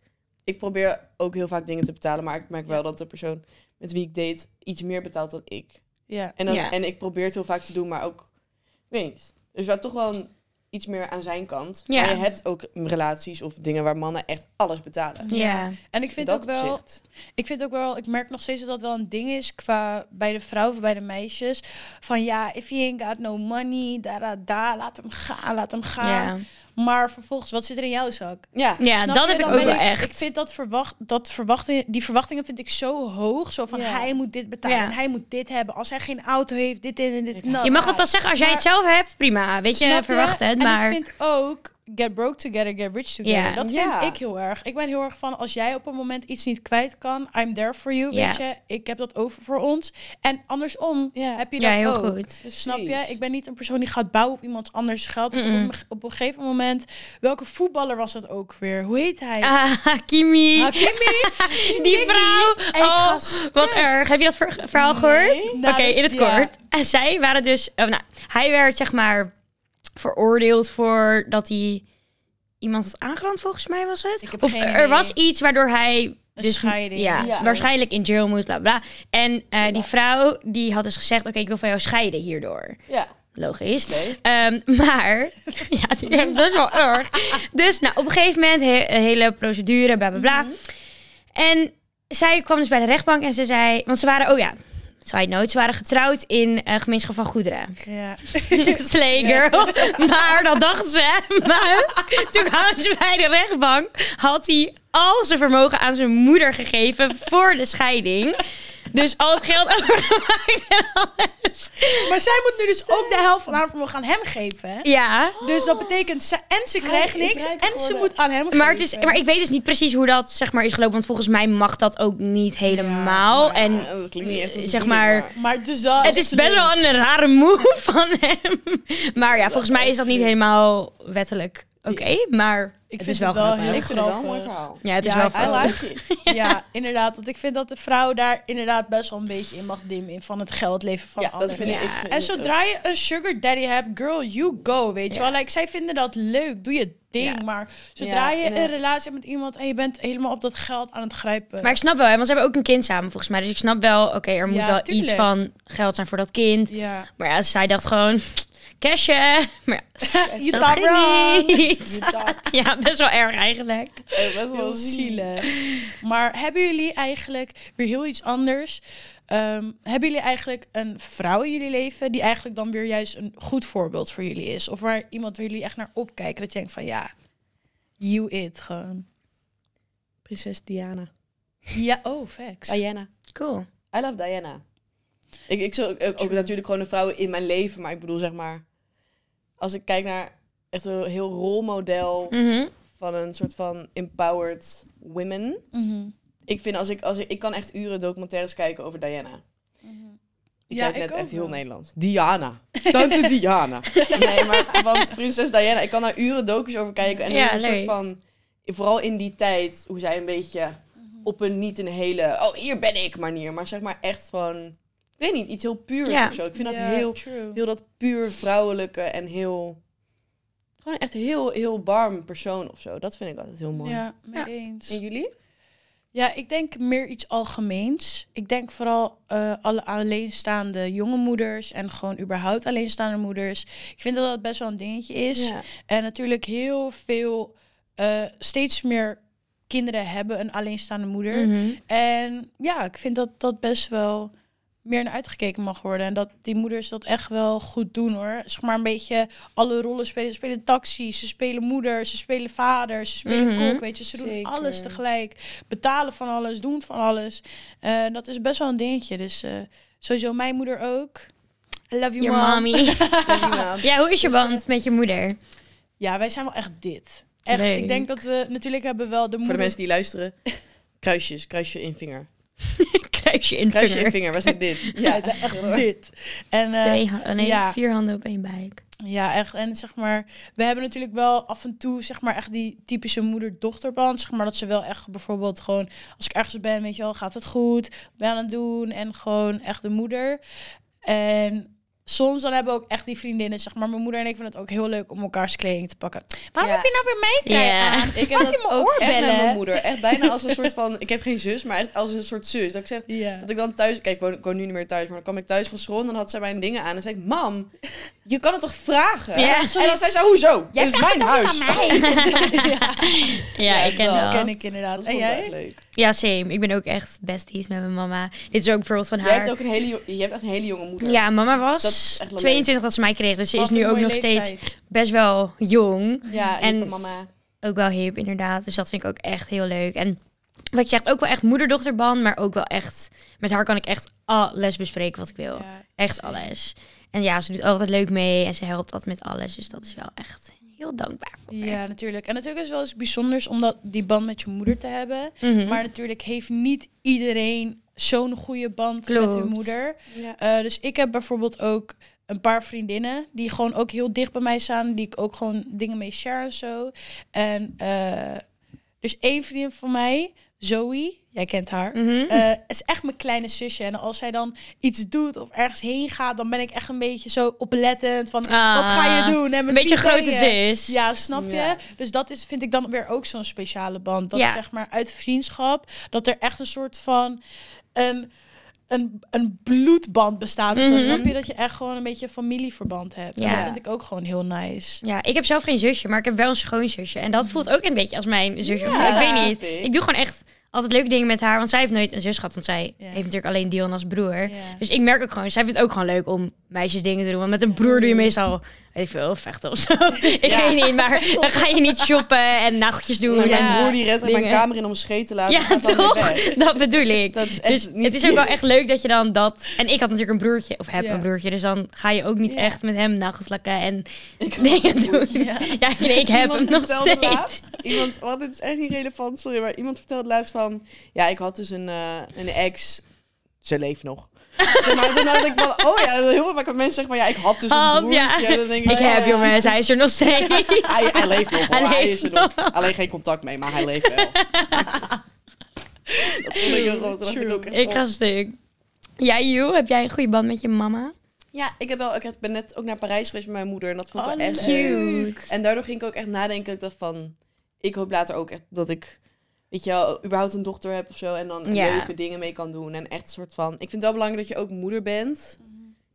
Speaker 1: ik probeer ook heel vaak dingen te betalen, maar ik merk wel dat de persoon met wie ik date iets meer betaalt dan ik.
Speaker 2: Ja.
Speaker 1: En, dan,
Speaker 3: Ja.
Speaker 1: en ik probeer het heel vaak te doen, maar ook, ik weet niet. Dus wel toch wel een- iets meer aan zijn kant.
Speaker 3: Ja.
Speaker 1: Maar je hebt ook relaties of dingen waar mannen echt alles betalen.
Speaker 3: Ja.
Speaker 2: En ik vind
Speaker 1: dat
Speaker 2: ook wel...
Speaker 1: opzicht.
Speaker 2: Ik vind ook wel, ik merk nog steeds dat dat wel een ding is qua bij de vrouwen of bij de meisjes. Van ja, if he ain't got no money, da da da, laat hem gaan, laat hem
Speaker 3: Ja,
Speaker 2: gaan. Maar vervolgens, wat zit er in jouw zak?
Speaker 1: Ja.
Speaker 3: ja
Speaker 2: Snap
Speaker 3: dat
Speaker 2: je?
Speaker 3: heb ik
Speaker 2: Dan
Speaker 3: ook wel
Speaker 2: ben Ik
Speaker 3: echt.
Speaker 2: vind dat verwacht, dat verwachtingen, die verwachtingen vind ik zo hoog. Zo van
Speaker 1: Ja.
Speaker 2: hij moet dit betalen,
Speaker 3: Ja.
Speaker 2: en hij moet dit hebben. Als hij geen auto heeft, dit en dit. en
Speaker 1: Ja.
Speaker 2: dat.
Speaker 3: Je mag het pas zeggen als jij het zelf hebt, prima. Weet je,
Speaker 2: Snap
Speaker 3: eh, verwacht het,
Speaker 2: En
Speaker 3: maar.
Speaker 2: ik vind ook, get broke together, get rich together.
Speaker 3: Ja.
Speaker 2: Dat vind
Speaker 1: Ja.
Speaker 2: ik heel erg. Ik ben heel erg van als jij op een moment iets niet kwijt kan, I'm there for you.
Speaker 3: Ja.
Speaker 2: Weet je, ik heb dat over voor ons. En andersom
Speaker 1: Ja.
Speaker 2: heb je dat
Speaker 3: Ja, heel
Speaker 2: ook.
Speaker 3: goed.
Speaker 2: Dus snap je?
Speaker 1: Precies.
Speaker 2: Ik ben niet een persoon die gaat bouwen op iemands anders geld. Want
Speaker 3: Mm-mm.
Speaker 2: Op, een- op een gegeven moment, welke voetballer was dat ook weer? Hoe heet hij?
Speaker 3: Ah, [laughs] Hakimi.
Speaker 2: Hakimi?
Speaker 3: [laughs]
Speaker 2: [laughs]
Speaker 3: Die vrouw. Oh, wat erg. Heb je dat ver- verhaal gehoord? Oké,
Speaker 2: Nou, dus-
Speaker 3: in het
Speaker 2: ja.
Speaker 3: kort. En zij waren dus... oh, nou, hij werd zeg maar veroordeeld voor dat hij iemand had aangerand, volgens mij was het.
Speaker 2: Ik heb
Speaker 3: of
Speaker 2: geen idee.
Speaker 3: er was iets waardoor hij...
Speaker 2: Een
Speaker 3: Dus,
Speaker 2: scheiding.
Speaker 3: Ja,
Speaker 1: Ja.
Speaker 3: waarschijnlijk in jail moest, bla bla. En eh, die vrouw die had dus gezegd: Oké, ik wil van jou scheiden hierdoor.
Speaker 1: Ja.
Speaker 3: Logisch.
Speaker 1: Oké.
Speaker 3: Ehm, maar, [laughs] ja, het is echt best wel erg. Dus nou, op een gegeven moment, he- een hele procedure, bla bla bla. En zij kwam dus bij de rechtbank en ze zei, want ze waren, oh ja, side note, ze waren getrouwd in eh, gemeenschap van goederen.
Speaker 2: Ja.
Speaker 3: Slay girl. Maar, dat dachten ze, hè. maar toen kwamen ze bij de rechtbank, had hij al zijn vermogen aan zijn moeder gegeven voor de scheiding. Dus al het geld overgemaakt en alles.
Speaker 2: Maar zij moet nu dus ook de helft van haar vermogen aan hem geven. hè?
Speaker 3: Ja.
Speaker 2: Dus dat betekent, ze, en ze krijgt
Speaker 1: is
Speaker 2: niks,
Speaker 1: rijk
Speaker 2: en ze
Speaker 1: geworden.
Speaker 2: moet aan hem
Speaker 3: Maar, het
Speaker 2: geven.
Speaker 3: is, maar ik weet dus niet precies hoe dat zeg maar, is gelopen. Want volgens mij mag dat ook niet helemaal.
Speaker 2: maar- oh,
Speaker 3: en
Speaker 1: Ja, dat klinkt niet echt als een
Speaker 3: Zeg
Speaker 1: bedoeling,
Speaker 3: maar-
Speaker 2: Maar het is wel
Speaker 3: het is best wel een rare move [laughs] van hem. Maar ja, volgens mij is dat niet helemaal wettelijk oké. maar
Speaker 2: Ik
Speaker 3: het
Speaker 2: vind
Speaker 3: is wel
Speaker 2: het wel
Speaker 3: grappig.
Speaker 2: heel-
Speaker 1: Ik vind het wel een
Speaker 2: grappig.
Speaker 1: mooi verhaal.
Speaker 3: Ja, het is
Speaker 2: Ja,
Speaker 3: wel
Speaker 2: ik
Speaker 1: I
Speaker 2: vind
Speaker 3: grappig.
Speaker 1: like it.
Speaker 2: Ja, inderdaad. Want ik vind dat de vrouw daar inderdaad best wel een beetje in mag dimmen. in Van het geldleven van
Speaker 1: Ja, dat
Speaker 2: anderen.
Speaker 1: vind ik. ik vind
Speaker 2: En
Speaker 1: het ook.
Speaker 2: zodra je een sugar daddy hebt, girl, you go, weet je
Speaker 3: Ja.
Speaker 2: wel. Like, zij vinden dat leuk, doe je ding. Maar zodra
Speaker 1: Ja,
Speaker 2: je
Speaker 1: en, eh,
Speaker 2: een relatie hebt met iemand en je bent helemaal op dat geld aan het grijpen.
Speaker 3: Maar ik snap wel, hè, want ze hebben ook een kind samen volgens mij. Dus ik snap wel, oké, er moet
Speaker 2: Ja,
Speaker 3: wel
Speaker 2: tuurlijk.
Speaker 3: iets van geld zijn voor dat kind.
Speaker 2: ja.
Speaker 3: Maar ja, zij dacht gewoon, [sniffs] cashje. Maar ja,
Speaker 2: [laughs] Je
Speaker 3: dat
Speaker 2: dacht
Speaker 3: ging
Speaker 2: wrong.
Speaker 3: niet. [laughs]
Speaker 1: Je dacht,
Speaker 3: Ja, best wel erg eigenlijk.
Speaker 1: eh, Best wel
Speaker 2: Heel
Speaker 1: zielig.
Speaker 2: zielig. Maar hebben jullie eigenlijk weer heel iets anders? Ehm, hebben jullie eigenlijk een vrouw in jullie leven die eigenlijk dan weer juist een goed voorbeeld voor jullie is? Of waar iemand waar jullie echt naar opkijken dat je denkt van ja, you it gewoon.
Speaker 1: Prinses Diana.
Speaker 2: Ja, oh, facts.
Speaker 1: Diana.
Speaker 3: Cool.
Speaker 1: I love Diana. Ik, ik zou ook, ook natuurlijk gewoon een vrouw in mijn leven, maar ik bedoel zeg maar... Als ik kijk naar echt een heel rolmodel
Speaker 3: Mhm.
Speaker 1: van een soort van empowered women.
Speaker 2: Mhm.
Speaker 1: Ik vind als ik, als ik, ik kan echt uren documentaires kijken over Diana. Ik
Speaker 2: Mhm. Ja,
Speaker 1: zei het
Speaker 2: ik
Speaker 1: net
Speaker 2: ook
Speaker 1: echt heel
Speaker 2: wel.
Speaker 1: Nederlands. Diana.
Speaker 2: [laughs]
Speaker 1: Tante Diana. Nee, maar want prinses Diana, ik kan daar uren docus over kijken. En
Speaker 3: Ja,
Speaker 1: een soort
Speaker 3: leuk.
Speaker 1: van, vooral in die tijd, hoe zij een beetje
Speaker 2: Mhm.
Speaker 1: op een niet een hele, oh hier ben ik manier. Maar zeg maar echt van, ik weet niet, iets heel puurs
Speaker 3: Ja.
Speaker 1: of zo. Ik vind
Speaker 2: Ja,
Speaker 1: dat heel,
Speaker 2: true.
Speaker 1: heel dat puur vrouwelijke en heel, gewoon echt heel, heel warm persoon of zo. Dat vind ik altijd heel mooi.
Speaker 2: Ja, mee
Speaker 3: Ja.
Speaker 2: eens.
Speaker 1: En jullie?
Speaker 2: Ja, ik denk meer iets algemeens. Ik denk vooral eh, alle alleenstaande jonge moeders en gewoon überhaupt alleenstaande moeders. Ik vind dat dat best wel een dingetje is. En natuurlijk heel veel, eh, steeds meer kinderen hebben een alleenstaande moeder.
Speaker 3: Mhm.
Speaker 2: En ja, ik vind dat dat best wel meer naar uitgekeken mag worden. En dat die moeders dat echt wel goed doen hoor. Zeg maar een beetje alle rollen spelen. Ze spelen taxi, ze spelen moeder, ze spelen vader, ze spelen
Speaker 3: Mhm.
Speaker 2: kok. Weet je, ze doen
Speaker 1: Zeker.
Speaker 2: alles tegelijk. Betalen van alles, doen van alles. Eh, dat is best wel een dingetje. Dus eh, sowieso mijn moeder ook. I love you,
Speaker 3: Your
Speaker 2: mom.
Speaker 3: mommy.
Speaker 1: Prima.
Speaker 3: Ja, hoe is je band met je moeder?
Speaker 2: Ja, wij zijn wel echt dit. Echt,
Speaker 3: Leuk.
Speaker 2: ik denk dat we natuurlijk hebben wel de
Speaker 1: Voor de
Speaker 2: moeder...
Speaker 1: mensen die luisteren. Kruisjes, kruisje in vinger.
Speaker 3: Kruisje in
Speaker 1: Kruisje in
Speaker 3: vinger.
Speaker 1: vinger, we zijn dit.
Speaker 2: [laughs] Ja, het zijn echt dit. En, eh,
Speaker 3: Twee, ha- oh nee,
Speaker 2: ja.
Speaker 3: vier handen op één buik.
Speaker 2: Ja, echt. En zeg maar, we hebben natuurlijk wel af en toe, zeg maar, echt die typische moeder-dochterband. Zeg maar dat ze wel echt bijvoorbeeld gewoon, als ik ergens ben, weet je wel, gaat het goed, Wat ben je aan het doen en gewoon echt de moeder. En soms dan hebben we ook echt die vriendinnen, zeg maar, mijn moeder en ik vinden het ook heel leuk om elkaars kleding te pakken. Waarom
Speaker 1: Ja.
Speaker 2: heb je nou weer meetrui
Speaker 3: Ja.
Speaker 2: aan?
Speaker 1: Ik heb
Speaker 2: Mag je
Speaker 1: dat
Speaker 2: mijn
Speaker 1: ook
Speaker 2: oor
Speaker 1: echt met
Speaker 2: bellen?
Speaker 1: mijn moeder. Echt bijna als een soort van... Ik heb geen zus, maar echt als een soort zus. Dat ik zeg...
Speaker 2: Ja.
Speaker 1: Dat ik dan thuis... Kijk, ik woon, ik woon nu niet meer thuis. Maar dan kwam ik thuis van school en dan had zij mijn dingen aan. En zei ik... Mam, je kan het toch vragen?
Speaker 3: Ja,
Speaker 1: en dan zei ze... Hoezo? Dit is mijn huis.
Speaker 3: Ja, ik ken
Speaker 1: wel.
Speaker 3: dat.
Speaker 2: ken ik
Speaker 1: Dat
Speaker 2: inderdaad. En
Speaker 1: vond ik wel
Speaker 2: jij?
Speaker 1: echt leuk.
Speaker 3: Ja, same. Ik ben ook echt besties met mijn mama. Dit is ook bijvoorbeeld van
Speaker 1: Jij hebt
Speaker 3: haar.
Speaker 1: ook een hele, jo- je hebt echt een hele jonge moeder.
Speaker 3: Ja, mama
Speaker 1: Dat is
Speaker 3: was
Speaker 1: echt wel leuk.
Speaker 3: 22 dat ze mij kreeg. Dus ze is
Speaker 2: Wat
Speaker 3: nu
Speaker 2: een
Speaker 3: ook
Speaker 2: mooie
Speaker 3: nog steeds
Speaker 2: leeftijd.
Speaker 3: best wel jong.
Speaker 1: Ja,
Speaker 3: En-
Speaker 1: en mama.
Speaker 3: Ook wel hip, inderdaad. Dus dat vind ik ook echt heel leuk. En wat je zegt, ook wel echt moeder-dochterband. Maar ook wel echt... Met haar kan ik echt alles bespreken wat ik wil.
Speaker 2: Ja.
Speaker 3: Echt alles. En ja, ze doet altijd leuk mee. En ze helpt altijd met alles. Dus dat is wel echt heel heel dankbaar voor.
Speaker 2: Ja, natuurlijk. En natuurlijk is het wel eens bijzonders om dat, die band met je moeder te hebben.
Speaker 3: Mhm.
Speaker 2: Maar natuurlijk heeft niet iedereen zo'n goede band met hun
Speaker 3: Klopt.
Speaker 2: moeder.
Speaker 1: Ja.
Speaker 2: Eh, dus ik heb bijvoorbeeld ook een paar vriendinnen die gewoon ook heel dicht bij mij staan, die ik ook gewoon dingen mee share en zo. En eh, dus één vriendin van mij, Zoe, jij kent haar.
Speaker 3: Mhm.
Speaker 2: eh, is echt mijn kleine zusje. En als zij dan iets doet of ergens heen gaat, dan ben ik echt een beetje zo oplettend van
Speaker 3: Ah,
Speaker 2: wat ga je doen? En
Speaker 3: Een
Speaker 2: met
Speaker 3: beetje
Speaker 2: wie ben
Speaker 3: grote
Speaker 2: je?
Speaker 3: zus.
Speaker 2: Ja, snap je?
Speaker 1: Ja.
Speaker 2: Dus dat is, vind ik dan weer ook zo'n speciale band. Dat
Speaker 3: Ja.
Speaker 2: zeg maar uit vriendschap, dat er echt een soort van een, een, een bloedband bestaat. of zo.
Speaker 3: Mhm.
Speaker 2: snap je dat je echt gewoon een beetje een familieverband hebt? En
Speaker 3: Ja.
Speaker 2: dat vind ik ook gewoon heel nice.
Speaker 3: Ja, ik heb zelf geen zusje, maar ik heb wel een schoonzusje. En dat voelt ook een beetje als mijn zusje. of zo.
Speaker 2: Ja.
Speaker 3: Ik weet niet. Ik doe gewoon echt altijd leuke dingen met haar. Want zij heeft nooit een zus gehad. Want zij
Speaker 2: Ja.
Speaker 3: heeft natuurlijk alleen Dion als broer.
Speaker 2: Ja.
Speaker 3: Dus ik merk ook gewoon, zij vindt het ook gewoon leuk om meisjes dingen te doen. Want met een broer doe je meestal, weet ik veel, vechten of zo. [laughs] ik
Speaker 1: Ja.
Speaker 3: weet niet,
Speaker 2: [laughs]
Speaker 3: maar dan ga je niet shoppen en nachtjes doen.
Speaker 1: Maar
Speaker 3: en-
Speaker 2: Ja.
Speaker 1: Mijn broer die redt echt mijn
Speaker 3: Dingen.
Speaker 1: kamer in om scheet te laten.
Speaker 3: Ja,
Speaker 1: gaat dan weer
Speaker 3: toch?
Speaker 1: weg.
Speaker 3: Dat bedoel ik.
Speaker 1: Dat is echt
Speaker 3: Dus
Speaker 1: niet
Speaker 3: het is ook wel echt leuk dat je dan dat... En ik had natuurlijk een broertje, of heb
Speaker 2: Ja.
Speaker 3: een broertje. Dus dan ga je ook niet
Speaker 2: Ja.
Speaker 3: echt met hem nachtslakken en [laughs] dingen doen. Ja, ik, nee, ik heb hem
Speaker 1: Iemand
Speaker 3: nog
Speaker 1: vertelde
Speaker 3: steeds.
Speaker 1: Laatst, iemand, want dit is echt niet relevant, sorry, maar iemand vertelde laatst van... Ja, ik had dus een, eh, een ex. Ze leeft
Speaker 3: [laughs]
Speaker 1: nog. Zeg maar, toen dacht ik van, oh ja, heel vaak wat mensen zeggen van... Ja, ik had dus een
Speaker 3: Had,
Speaker 1: broertje.
Speaker 3: ja.
Speaker 1: Dan denk ik,
Speaker 3: Ik
Speaker 1: ja,
Speaker 3: heb,
Speaker 1: ja,
Speaker 3: jongens, hij is er nog
Speaker 1: [laughs]
Speaker 3: steeds.
Speaker 1: Hij, hij leeft
Speaker 3: [laughs]
Speaker 1: nog, hoor.
Speaker 3: Hij
Speaker 1: Hij,
Speaker 3: leeft
Speaker 1: is er nog. Alleen geen contact mee, maar hij leeft
Speaker 3: [laughs]
Speaker 1: wel. dat vond ik heel groot. Dat dacht ik ook echt
Speaker 3: Ik
Speaker 1: van,
Speaker 3: ga stuk. Jij, Joe, heb jij een goede band met je mama?
Speaker 1: Ja, ik, heb wel, ik ben net ook naar Parijs geweest met mijn moeder. En dat vond ik
Speaker 2: Oh,
Speaker 1: wel echt
Speaker 2: leuk.
Speaker 1: leuk. En daardoor ging ik ook echt nadenken. Ik dacht van, ik hoop later ook echt dat ik, weet je wel, überhaupt een dochter heb of zo. En dan
Speaker 3: Ja.
Speaker 1: leuke dingen mee kan doen. En echt een soort van, ik vind het wel belangrijk dat je ook moeder bent.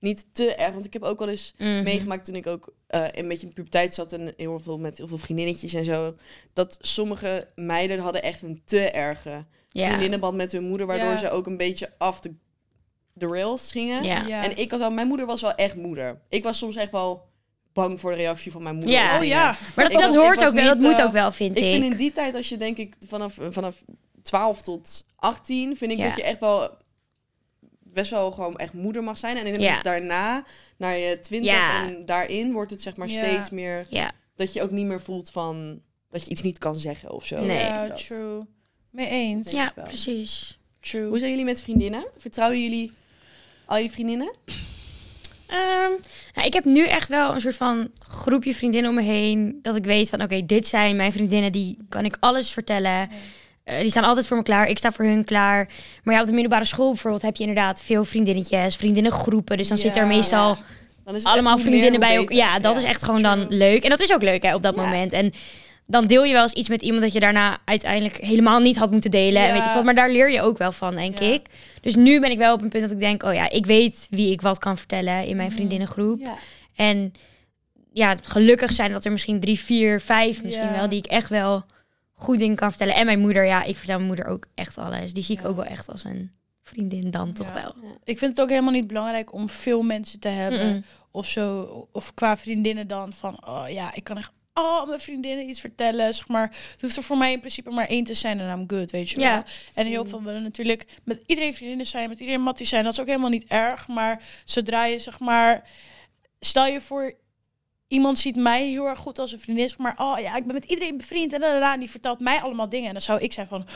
Speaker 1: Niet te erg, want ik heb ook wel eens
Speaker 3: Mhm.
Speaker 1: meegemaakt toen ik ook eh, een beetje in de puberteit zat. En heel veel met heel veel vriendinnetjes en zo. Dat sommige meiden hadden echt een te erge
Speaker 3: Ja.
Speaker 1: vriendinnenband met hun moeder. Waardoor
Speaker 2: Ja.
Speaker 1: ze ook een beetje af de, de rails gingen.
Speaker 3: Ja.
Speaker 1: En ik had wel, mijn moeder was wel echt moeder. Ik was soms echt wel bang voor de reactie van mijn moeder.
Speaker 3: Ja.
Speaker 1: op
Speaker 2: Oh
Speaker 1: dingen.
Speaker 2: ja.
Speaker 3: Maar
Speaker 1: Ik
Speaker 3: dat, dat
Speaker 1: was- ik
Speaker 3: hoort
Speaker 1: was
Speaker 3: ook wel, dat
Speaker 1: niet,
Speaker 3: moet
Speaker 1: eh,
Speaker 3: ook wel, vind ik.
Speaker 1: Ik vind in die tijd, als je denk ik vanaf, vanaf 12 tot 18, vind ik
Speaker 3: Ja.
Speaker 1: dat je echt wel best wel gewoon echt moeder mag zijn. En ik denk
Speaker 3: Ja.
Speaker 1: dat daarna, naar je 20
Speaker 3: Ja.
Speaker 1: en daarin, wordt het zeg maar
Speaker 2: Ja.
Speaker 1: steeds meer
Speaker 3: Ja.
Speaker 1: dat je ook niet meer voelt van dat je iets niet kan zeggen of zo.
Speaker 3: Nee.
Speaker 2: Ja,
Speaker 1: Dat.
Speaker 2: true. Mee eens.
Speaker 1: Ja.
Speaker 3: Ja,
Speaker 1: wel.
Speaker 3: precies.
Speaker 2: True.
Speaker 1: Hoe zijn jullie met vriendinnen? Vertrouwen jullie al je vriendinnen?
Speaker 3: Ehm, nou, ik heb nu echt wel een soort van groepje vriendinnen om me heen. Dat ik weet van, oké, dit zijn mijn vriendinnen. Die kan ik alles vertellen. Eh, die staan altijd voor me klaar. Ik sta voor hun klaar. Maar ja, op de middelbare school bijvoorbeeld heb je inderdaad veel vriendinnetjes. Vriendinnengroepen. Dus dan zit er
Speaker 2: Ja.
Speaker 3: meestal
Speaker 1: Dan is het echt
Speaker 3: allemaal
Speaker 1: hoe meer,
Speaker 3: vriendinnen bij
Speaker 1: hoe
Speaker 3: elkaar. Ja, dat
Speaker 1: beter.
Speaker 3: is echt gewoon dan
Speaker 2: true.
Speaker 3: leuk. En dat is ook leuk hè, op dat
Speaker 1: Ja.
Speaker 3: moment. En dan deel je wel eens iets met iemand dat je daarna uiteindelijk helemaal niet had moeten delen. En
Speaker 2: Ja.
Speaker 3: weet ik wat. Maar daar leer je ook wel van, denk
Speaker 2: Ja.
Speaker 3: ik. Dus nu ben ik wel op een punt dat ik denk, oh ja, ik weet wie ik wat kan vertellen in mijn vriendinnengroep.
Speaker 1: Ja.
Speaker 3: En ja, gelukkig zijn dat er misschien drie, vier, vijf misschien
Speaker 2: Ja.
Speaker 3: wel, die ik echt wel goed dingen kan vertellen. En mijn moeder, ja, ik vertel mijn moeder ook echt alles. Die zie ik
Speaker 2: Ja.
Speaker 3: ook wel echt als een vriendin dan, toch
Speaker 2: Ja.
Speaker 3: wel.
Speaker 2: Ik vind het ook helemaal niet belangrijk om veel mensen te hebben.
Speaker 3: Mm-mm.
Speaker 2: Of zo. Of qua vriendinnen dan. Van, oh ja, ik kan echt al mijn vriendinnen iets vertellen. Zeg maar. Het hoeft er voor mij in principe maar één te zijn. En I'm good, weet je
Speaker 3: Ja,
Speaker 2: wel. En heel veel willen natuurlijk met iedereen vriendinnen zijn. Met iedereen matties zijn. Dat is ook helemaal niet erg. Maar zodra je zeg maar... Stel je voor... Iemand ziet mij heel erg goed als een vriendin. Zeg maar, oh ja, ik ben met iedereen bevriend. En, dadada, en die vertelt mij allemaal dingen. En dan zou ik zijn van,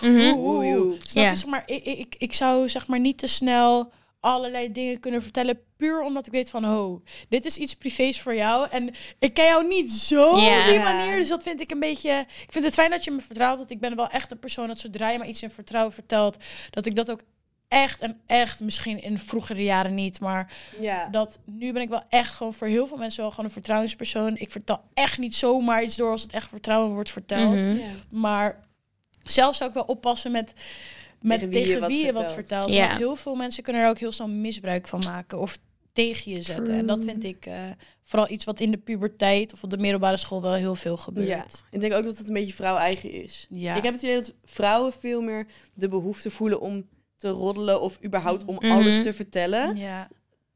Speaker 3: Mhm.
Speaker 2: Oeh, oeh, oeh. Snap
Speaker 3: Ja.
Speaker 2: je? Zeg maar, ik, ik, ik zou zeg maar niet te snel allerlei dingen kunnen vertellen. Puur omdat ik weet van, ho, dit is iets privés voor jou. En ik ken jou niet zo
Speaker 3: Ja.
Speaker 2: op die manier. Dus dat vind ik een beetje... Ik vind het fijn dat je me vertrouwt. Want ik ben wel echt een persoon dat zodra je me iets in vertrouwen vertelt... dat ik dat ook echt en echt, misschien in vroegere jaren niet... maar
Speaker 1: Ja.
Speaker 2: dat nu ben ik wel echt gewoon voor heel veel mensen wel gewoon een vertrouwenspersoon. Ik vertel echt niet zomaar iets door als het echt vertrouwen wordt verteld.
Speaker 3: Mhm.
Speaker 1: Ja.
Speaker 2: Maar zelf zou ik wel oppassen met, met tegen wie, je, wat
Speaker 1: vertelt.
Speaker 2: vertelt.
Speaker 3: Ja.
Speaker 2: Want heel veel mensen kunnen er ook heel snel misbruik van maken of tegen je zetten. En dat
Speaker 3: True.
Speaker 2: vind ik eh, vooral iets wat in de puberteit of op de middelbare school wel heel veel gebeurt.
Speaker 1: Ja. Ik denk ook dat het een beetje vrouw eigen is.
Speaker 2: Ja.
Speaker 1: Ik heb het idee dat vrouwen veel meer de behoefte voelen om te roddelen of überhaupt om
Speaker 3: Mhm.
Speaker 1: alles te vertellen
Speaker 2: ja.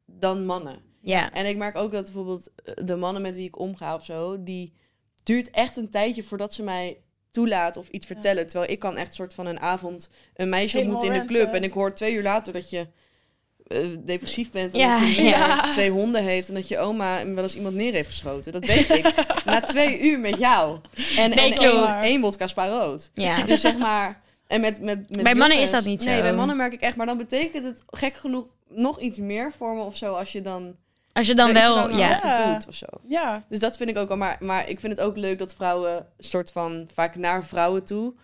Speaker 1: dan mannen.
Speaker 3: Ja.
Speaker 1: En ik merk ook dat bijvoorbeeld eh, de mannen met wie ik omga of zo, die duurt echt een tijdje voordat ze mij toelaat of iets vertellen. Terwijl ik kan echt soort van een avond een meisje
Speaker 2: Helemaal
Speaker 1: ontmoeten in de
Speaker 2: random.
Speaker 1: club en ik hoor twee uur later dat je eh, depressief bent en
Speaker 3: [laughs] Ja,
Speaker 1: dat je eh,
Speaker 2: ja.
Speaker 1: twee honden heeft en dat je oma wel eens iemand neer heeft geschoten. Dat weet ik. [laughs] Na twee uur met jou. En,
Speaker 3: Nee,
Speaker 1: en
Speaker 3: klopt.
Speaker 1: één, één vodka spa rood.
Speaker 3: Ja.
Speaker 1: Dus zeg maar... En met, met, met
Speaker 3: Bij mannen
Speaker 1: jongens-
Speaker 3: is dat niet zo.
Speaker 1: Nee, bij mannen merk ik echt. Maar dan betekent het gek genoeg nog iets meer voor me of zo als je dan...
Speaker 3: Als je dan
Speaker 1: er iets
Speaker 3: wel,
Speaker 1: langer
Speaker 3: ja.
Speaker 1: over doet of zo.
Speaker 2: Ja.
Speaker 1: Dus dat vind ik ook al. Maar, maar ik vind het ook leuk dat vrouwen, soort van vaak naar vrouwen toe,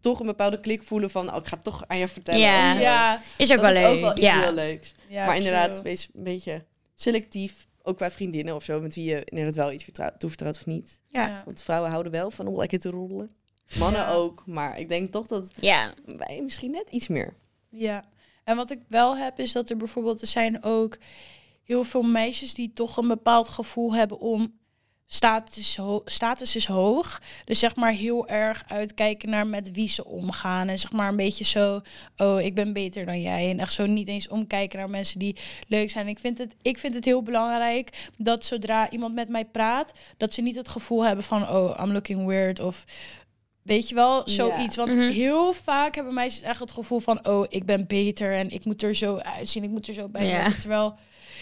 Speaker 1: toch een bepaalde klik voelen van: oh, ik ga het toch aan je vertellen.
Speaker 3: Ja.
Speaker 1: of zo.
Speaker 2: Ja.
Speaker 3: Is ook
Speaker 1: dat
Speaker 3: wel
Speaker 1: is ook wel
Speaker 3: leuk.
Speaker 1: iets
Speaker 3: Ja.
Speaker 1: heel leuks.
Speaker 2: ja,
Speaker 1: maar inderdaad,
Speaker 2: true.
Speaker 1: wees een beetje selectief. Ook qua vriendinnen of zo, met wie je inderdaad wel iets vertrouw- toevertrouwt of niet.
Speaker 3: Ja.
Speaker 2: Ja.
Speaker 1: Want vrouwen houden wel van om lekker te roddelen. Mannen
Speaker 2: Ja.
Speaker 1: ook, maar ik denk toch dat
Speaker 3: Ja.
Speaker 1: wij misschien net iets meer.
Speaker 2: Ja, en wat ik wel heb is dat er bijvoorbeeld, er zijn ook heel veel meisjes die toch een bepaald gevoel hebben om status, ho- status is hoog. Dus zeg maar heel erg uitkijken naar met wie ze omgaan. En zeg maar een beetje zo, oh ik ben beter dan jij. En echt zo niet eens omkijken naar mensen die leuk zijn. Ik vind het, ik vind het heel belangrijk dat zodra iemand met mij praat, dat ze niet het gevoel hebben van, oh I'm looking weird of... Weet je wel, zoiets. Want
Speaker 3: Mhm.
Speaker 2: heel vaak hebben meisjes echt het gevoel van... oh, ik ben beter en ik moet er zo uitzien, ik moet er zo bij
Speaker 3: Ja.
Speaker 2: horen. Terwijl,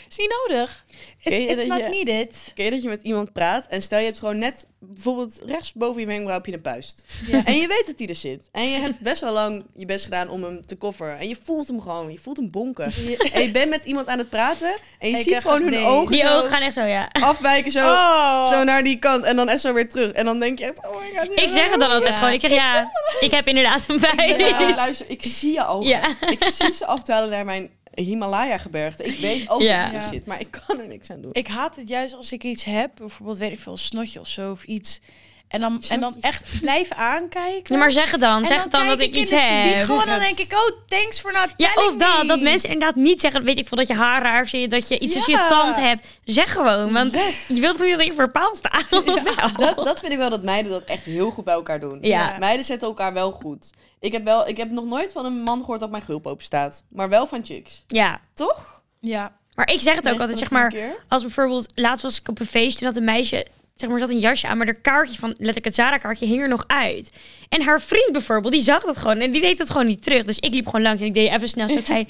Speaker 2: is niet nodig. It's,
Speaker 1: Ken je
Speaker 2: it's
Speaker 1: dat
Speaker 2: not
Speaker 1: je-
Speaker 2: needed.
Speaker 1: Ken je dat je met iemand praat en stel je hebt gewoon net bijvoorbeeld rechts boven je wenkbrauw heb je een puist.
Speaker 2: Ja.
Speaker 1: En je weet dat hij er zit. En je hebt best wel lang je best gedaan om hem te kofferen. En je voelt hem gewoon. Je voelt hem bonken. En je bent met iemand aan het praten. En je
Speaker 2: Ik
Speaker 1: ziet
Speaker 2: krijg
Speaker 1: gewoon
Speaker 2: het
Speaker 1: hun
Speaker 2: mee.
Speaker 1: ogen
Speaker 3: Die
Speaker 1: zo
Speaker 3: ogen gaan echt zo, ja.
Speaker 1: afwijken. Zo,
Speaker 2: Oh.
Speaker 1: zo naar die kant. En dan echt zo weer terug. En dan denk je echt, oh my god.
Speaker 3: Ik zeg het dan altijd
Speaker 2: Ja.
Speaker 3: gewoon. Ik zeg ja, ik heb inderdaad een
Speaker 1: Ik, zeg,
Speaker 3: bij.
Speaker 1: "Nou, luister, ik zie je ogen.
Speaker 3: Ja.
Speaker 1: Ik zie ze afdwalen naar mijn Himalaya-gebergte. Ik weet ook
Speaker 3: Ja.
Speaker 1: dat hij er
Speaker 2: Ja.
Speaker 1: zit. Maar ik kan er niks aan doen.
Speaker 2: Ik haat het juist als ik iets heb. Bijvoorbeeld, weet ik veel, een snotje of zo of iets. En dan, en dan
Speaker 1: Snotjes.
Speaker 2: echt blijven aankijken.
Speaker 3: Ja, maar zeg het dan.
Speaker 2: En
Speaker 3: Zeg het dan
Speaker 2: kijk
Speaker 3: dat ik iets
Speaker 2: in de spiegel
Speaker 3: heb.
Speaker 2: En dan denk ik, oh, thanks for not
Speaker 3: Ja,
Speaker 2: telling
Speaker 3: of dat.
Speaker 2: me.
Speaker 3: Dat mensen inderdaad niet zeggen, weet ik veel, dat je haar raar zit, dat je iets tussen
Speaker 2: Ja.
Speaker 3: je tand hebt. Zeg gewoon, want
Speaker 1: Zeg.
Speaker 3: je wilt gewoon niet dat je voor een paal staat. of wel?
Speaker 1: dat, dat vind ik wel dat meiden dat echt heel goed bij elkaar doen.
Speaker 3: Ja.
Speaker 1: Meiden zetten elkaar wel goed. Ik heb, wel, ik heb nog nooit van een man gehoord dat mijn gulp open staat. Maar wel van chicks.
Speaker 3: Ja.
Speaker 1: Toch?
Speaker 2: Ja.
Speaker 3: Maar ik zeg het ook
Speaker 1: Negen van
Speaker 3: altijd, zeg
Speaker 1: de
Speaker 3: maar,
Speaker 1: tien keer.
Speaker 3: als bijvoorbeeld, laatst was ik op een feest, toen had een meisje, zeg maar, zat een jasje aan, maar de kaartje van, letterlijk het Zara-kaartje, hing er nog uit. En haar vriend bijvoorbeeld, die zag dat gewoon en die deed dat gewoon niet terug. Dus ik liep gewoon langs en ik deed even snel zo, ik zei,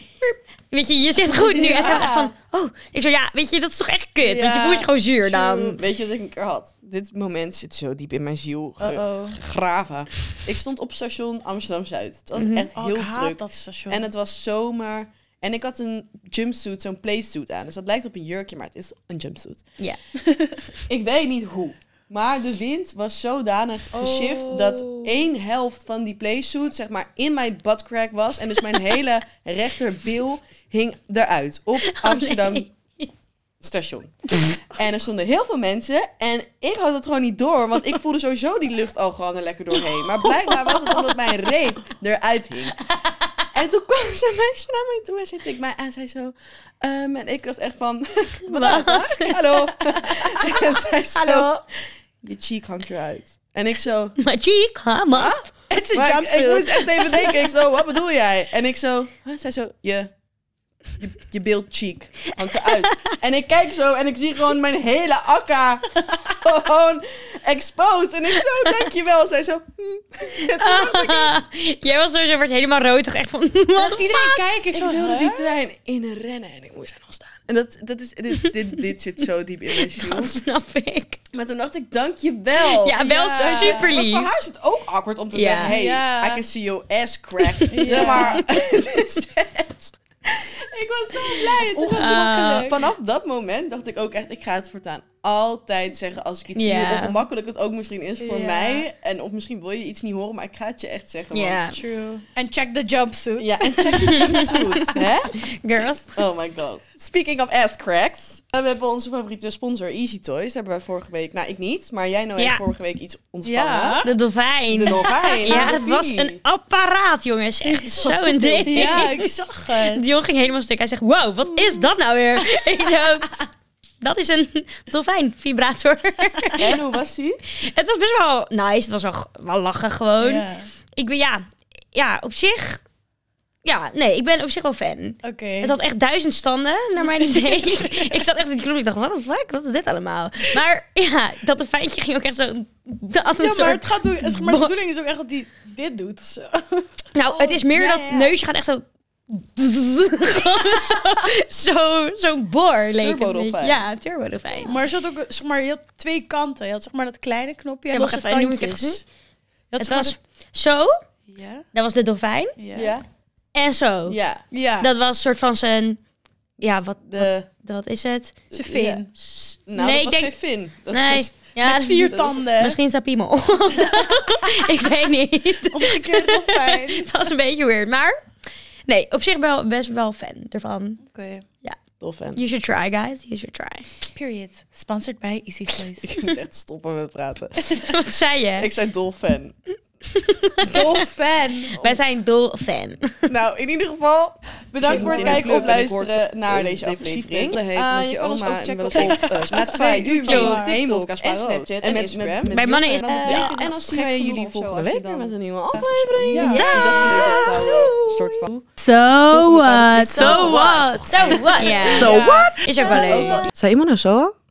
Speaker 3: weet je, je zit goed nu. En zij was echt van, oh, ik zei, ja, weet je, dat is toch echt kut, want je
Speaker 2: Ja.
Speaker 3: voelt je gewoon zuur dan.
Speaker 1: Weet je wat ik een keer had? Dit moment zit zo diep in mijn ziel ge-
Speaker 2: Uh-oh.
Speaker 1: gegraven. Ik stond op station Amsterdam-Zuid. Het was
Speaker 3: Mhm.
Speaker 1: echt
Speaker 2: Oh,
Speaker 1: heel
Speaker 2: ik haat
Speaker 1: druk.
Speaker 2: dat station.
Speaker 1: En het was zomer. En ik had een jumpsuit, zo'n playsuit aan. Dus dat lijkt op een jurkje, maar het is een jumpsuit.
Speaker 3: Ja.
Speaker 1: ik weet niet hoe. Maar de wind was zodanig geshift
Speaker 2: Oh.
Speaker 1: dat één helft van die playsuit zeg maar in mijn buttcrack was. En dus mijn hele rechterbil hing eruit op Amsterdam station. en er stonden heel veel mensen en ik had het gewoon niet door, want ik voelde sowieso die lucht al gewoon er lekker doorheen. Maar blijkbaar was het omdat mijn reet eruit hing. En toen kwam ze meisje naar mij toe en zit ik mij aan, zei zo, ehm, en ik was echt van,
Speaker 3: [laughs] Wat?
Speaker 1: [laughs] hallo. en zij zo,
Speaker 3: Hallo?
Speaker 1: je cheek hangt eruit. En ik zo,
Speaker 3: Maar cheek, huh, wat?
Speaker 2: Het is
Speaker 1: maar ik- Ik, moest echt even [laughs] denken. Ik zo, wat bedoel jij? En ik zo, huh? zij zo, je, je, je beeld cheek hangt eruit. en ik kijk zo en ik zie gewoon mijn hele akka gewoon exposed. En ik zo, dankjewel. Zij zo, hm.
Speaker 3: Jij was sowieso werd helemaal rood, toch echt van, [laughs] wat?
Speaker 2: Iedereen kijkt. Ik
Speaker 1: ik
Speaker 2: zo,
Speaker 1: wilde
Speaker 2: huh?
Speaker 1: die trein inrennen en ik moest daar nog staan. En dat, dat is, dit, dit, dit zit zo diep in mijn ziel.
Speaker 3: Dat snap ik.
Speaker 1: Maar toen dacht ik, dankjewel.
Speaker 3: Ja, wel
Speaker 1: Oh, Ja.
Speaker 3: super
Speaker 1: Eh, Want
Speaker 3: lief.
Speaker 1: voor haar is het ook awkward om te
Speaker 3: Ja.
Speaker 1: zeggen, hey,
Speaker 2: Ja.
Speaker 1: I can see your ass crack.
Speaker 2: Ja.
Speaker 1: Ja. [laughs] Maar het is echt... Ik was zo blij. Het was
Speaker 2: Ongemakkelijk.
Speaker 1: ook- Vanaf dat moment dacht ik ook echt, ik ga het voortaan altijd zeggen als ik iets
Speaker 3: Ja.
Speaker 1: zie. Hoe ongemakkelijk het ook misschien is voor
Speaker 2: Ja.
Speaker 1: mij. En of misschien wil je iets niet horen, maar ik ga het je echt zeggen. want-
Speaker 3: Ja,
Speaker 2: True. En check the jumpsuit.
Speaker 1: Ja, en check the jumpsuit, hè?
Speaker 3: girls.
Speaker 1: Oh my god. Speaking of ass cracks. We hebben onze favoriete sponsor, Easy Toys. Daar hebben wij vorige week... Nou, ik niet, maar jij nou
Speaker 3: Ja.
Speaker 1: heeft vorige week iets ontvangen.
Speaker 2: Ja.
Speaker 3: De dolfijn.
Speaker 1: De dolfijn.
Speaker 3: Ja,
Speaker 2: Ah,
Speaker 1: de
Speaker 3: dat was
Speaker 1: dolfijn.
Speaker 3: een apparaat, jongens.
Speaker 2: [laughs]
Speaker 3: Echt zo'n ding.
Speaker 2: Ja, ik zag het.
Speaker 3: Dion ging helemaal stuk. Hij zegt, wow, wat is dat nou weer? [laughs] Ik zo, dat is een dolfijnvibrator. [laughs]
Speaker 1: En hoe was die?
Speaker 3: Het was best wel nice. Het was wel, wel lachen gewoon.
Speaker 2: Ja.
Speaker 3: Ik ben, ja, ja, op zich... Ja, nee, ik ben op zich wel fan.
Speaker 2: Oké.
Speaker 3: Het had echt duizend standen, naar
Speaker 2: [laughs]
Speaker 3: mijn idee. [laughs] ik zat echt in die knop. Ik dacht, wat een fuck? Wat is dit allemaal? Maar ja, dat de feitje ging ook echt zo... Dat een
Speaker 2: Ja, maar,
Speaker 3: soort...
Speaker 2: het gaat doen, zeg maar de bedoeling is ook echt dat hij dit doet. of zo.
Speaker 3: Nou, het is meer
Speaker 2: ja,
Speaker 1: Oh,
Speaker 3: dat
Speaker 2: ja, ja.
Speaker 3: neusje gaat echt zo... [laughs] Gewoon zo- zo- Zo'n boor leek het een beetje.
Speaker 1: Turbodolfijn. Oh,
Speaker 3: Ja, turbodolfijn.
Speaker 2: [laughs] Maar, je had ook, zeg maar je had twee kanten. Je had zeg maar dat kleine knopje en
Speaker 3: Ja, wacht
Speaker 2: losse
Speaker 3: even, noem ik
Speaker 2: tandjes.
Speaker 3: even.
Speaker 2: Je had,
Speaker 3: Het
Speaker 2: zeg maar,
Speaker 3: was zo,
Speaker 2: dat- Ja?
Speaker 3: dat was de dolfijn.
Speaker 2: Ja.
Speaker 1: Ja.
Speaker 3: En zo,
Speaker 1: Ja.
Speaker 2: Ja,
Speaker 3: dat was een soort van zijn... Ja, wat,
Speaker 1: De,
Speaker 3: dat is het.
Speaker 2: zijn veen.
Speaker 1: Ja.
Speaker 3: S-
Speaker 1: nou,
Speaker 3: nee,
Speaker 1: dat was
Speaker 3: ik denk...
Speaker 1: geen fin. Dat
Speaker 3: nee,
Speaker 1: was
Speaker 3: ja,
Speaker 2: Met vier
Speaker 1: dat was-
Speaker 2: tanden.
Speaker 3: Misschien is dat piemel. [laughs] ik weet niet. [laughs]
Speaker 2: Omgekeerd dolfijn. Oké. [laughs]
Speaker 3: Het was een beetje weird, maar... Nee, op zich wel, best wel fan ervan.
Speaker 1: dolfijn.
Speaker 3: You should try, guys. You should try. [laughs]
Speaker 2: Period. Sponsored by Easy Choice.
Speaker 1: [laughs] Ik moet echt stoppen met praten.
Speaker 3: Wat zei je?
Speaker 1: Ik zei dolfijn.
Speaker 2: [laughs] dolfijn.
Speaker 3: Wij zijn dolfijn.
Speaker 1: Nou, in ieder geval,
Speaker 2: Zit
Speaker 1: bedankt voor het
Speaker 2: in de
Speaker 1: kijken
Speaker 2: club
Speaker 1: of
Speaker 4: binnenkort
Speaker 1: luisteren naar
Speaker 4: een
Speaker 1: deze
Speaker 4: depressief
Speaker 1: aflevering.
Speaker 4: middelen heeft
Speaker 1: Ah,
Speaker 4: met
Speaker 1: je
Speaker 4: je
Speaker 1: kan ons
Speaker 4: oma
Speaker 1: ook
Speaker 4: en
Speaker 1: checken op
Speaker 4: wel eens op,
Speaker 1: eh,
Speaker 4: eh,
Speaker 1: Spotify,
Speaker 4: Spotify,
Speaker 1: YouTube,
Speaker 3: YouTube,
Speaker 1: TikTok
Speaker 4: Podcast
Speaker 1: en
Speaker 4: Paro.
Speaker 1: Snapchat
Speaker 4: En
Speaker 1: en
Speaker 4: met-
Speaker 1: Instagram.
Speaker 4: met- met
Speaker 3: Bij mannen
Speaker 1: En
Speaker 3: is
Speaker 1: dan-
Speaker 3: het-
Speaker 1: ja,
Speaker 3: ja,
Speaker 1: en dan
Speaker 4: als
Speaker 1: zien wij
Speaker 4: gek
Speaker 1: jullie
Speaker 4: genoeg of zo,
Speaker 1: volgende
Speaker 4: als je
Speaker 1: week weer
Speaker 4: dan-
Speaker 1: met een nieuwe
Speaker 4: aflevering.
Speaker 1: aflevering.
Speaker 4: Ja.
Speaker 1: Dus dat vind ik het wel, eh, soort van...
Speaker 4: So what?
Speaker 3: So what? Ja.
Speaker 4: So what?
Speaker 3: Is ook wel leuk.
Speaker 4: Zou iemand nou zo?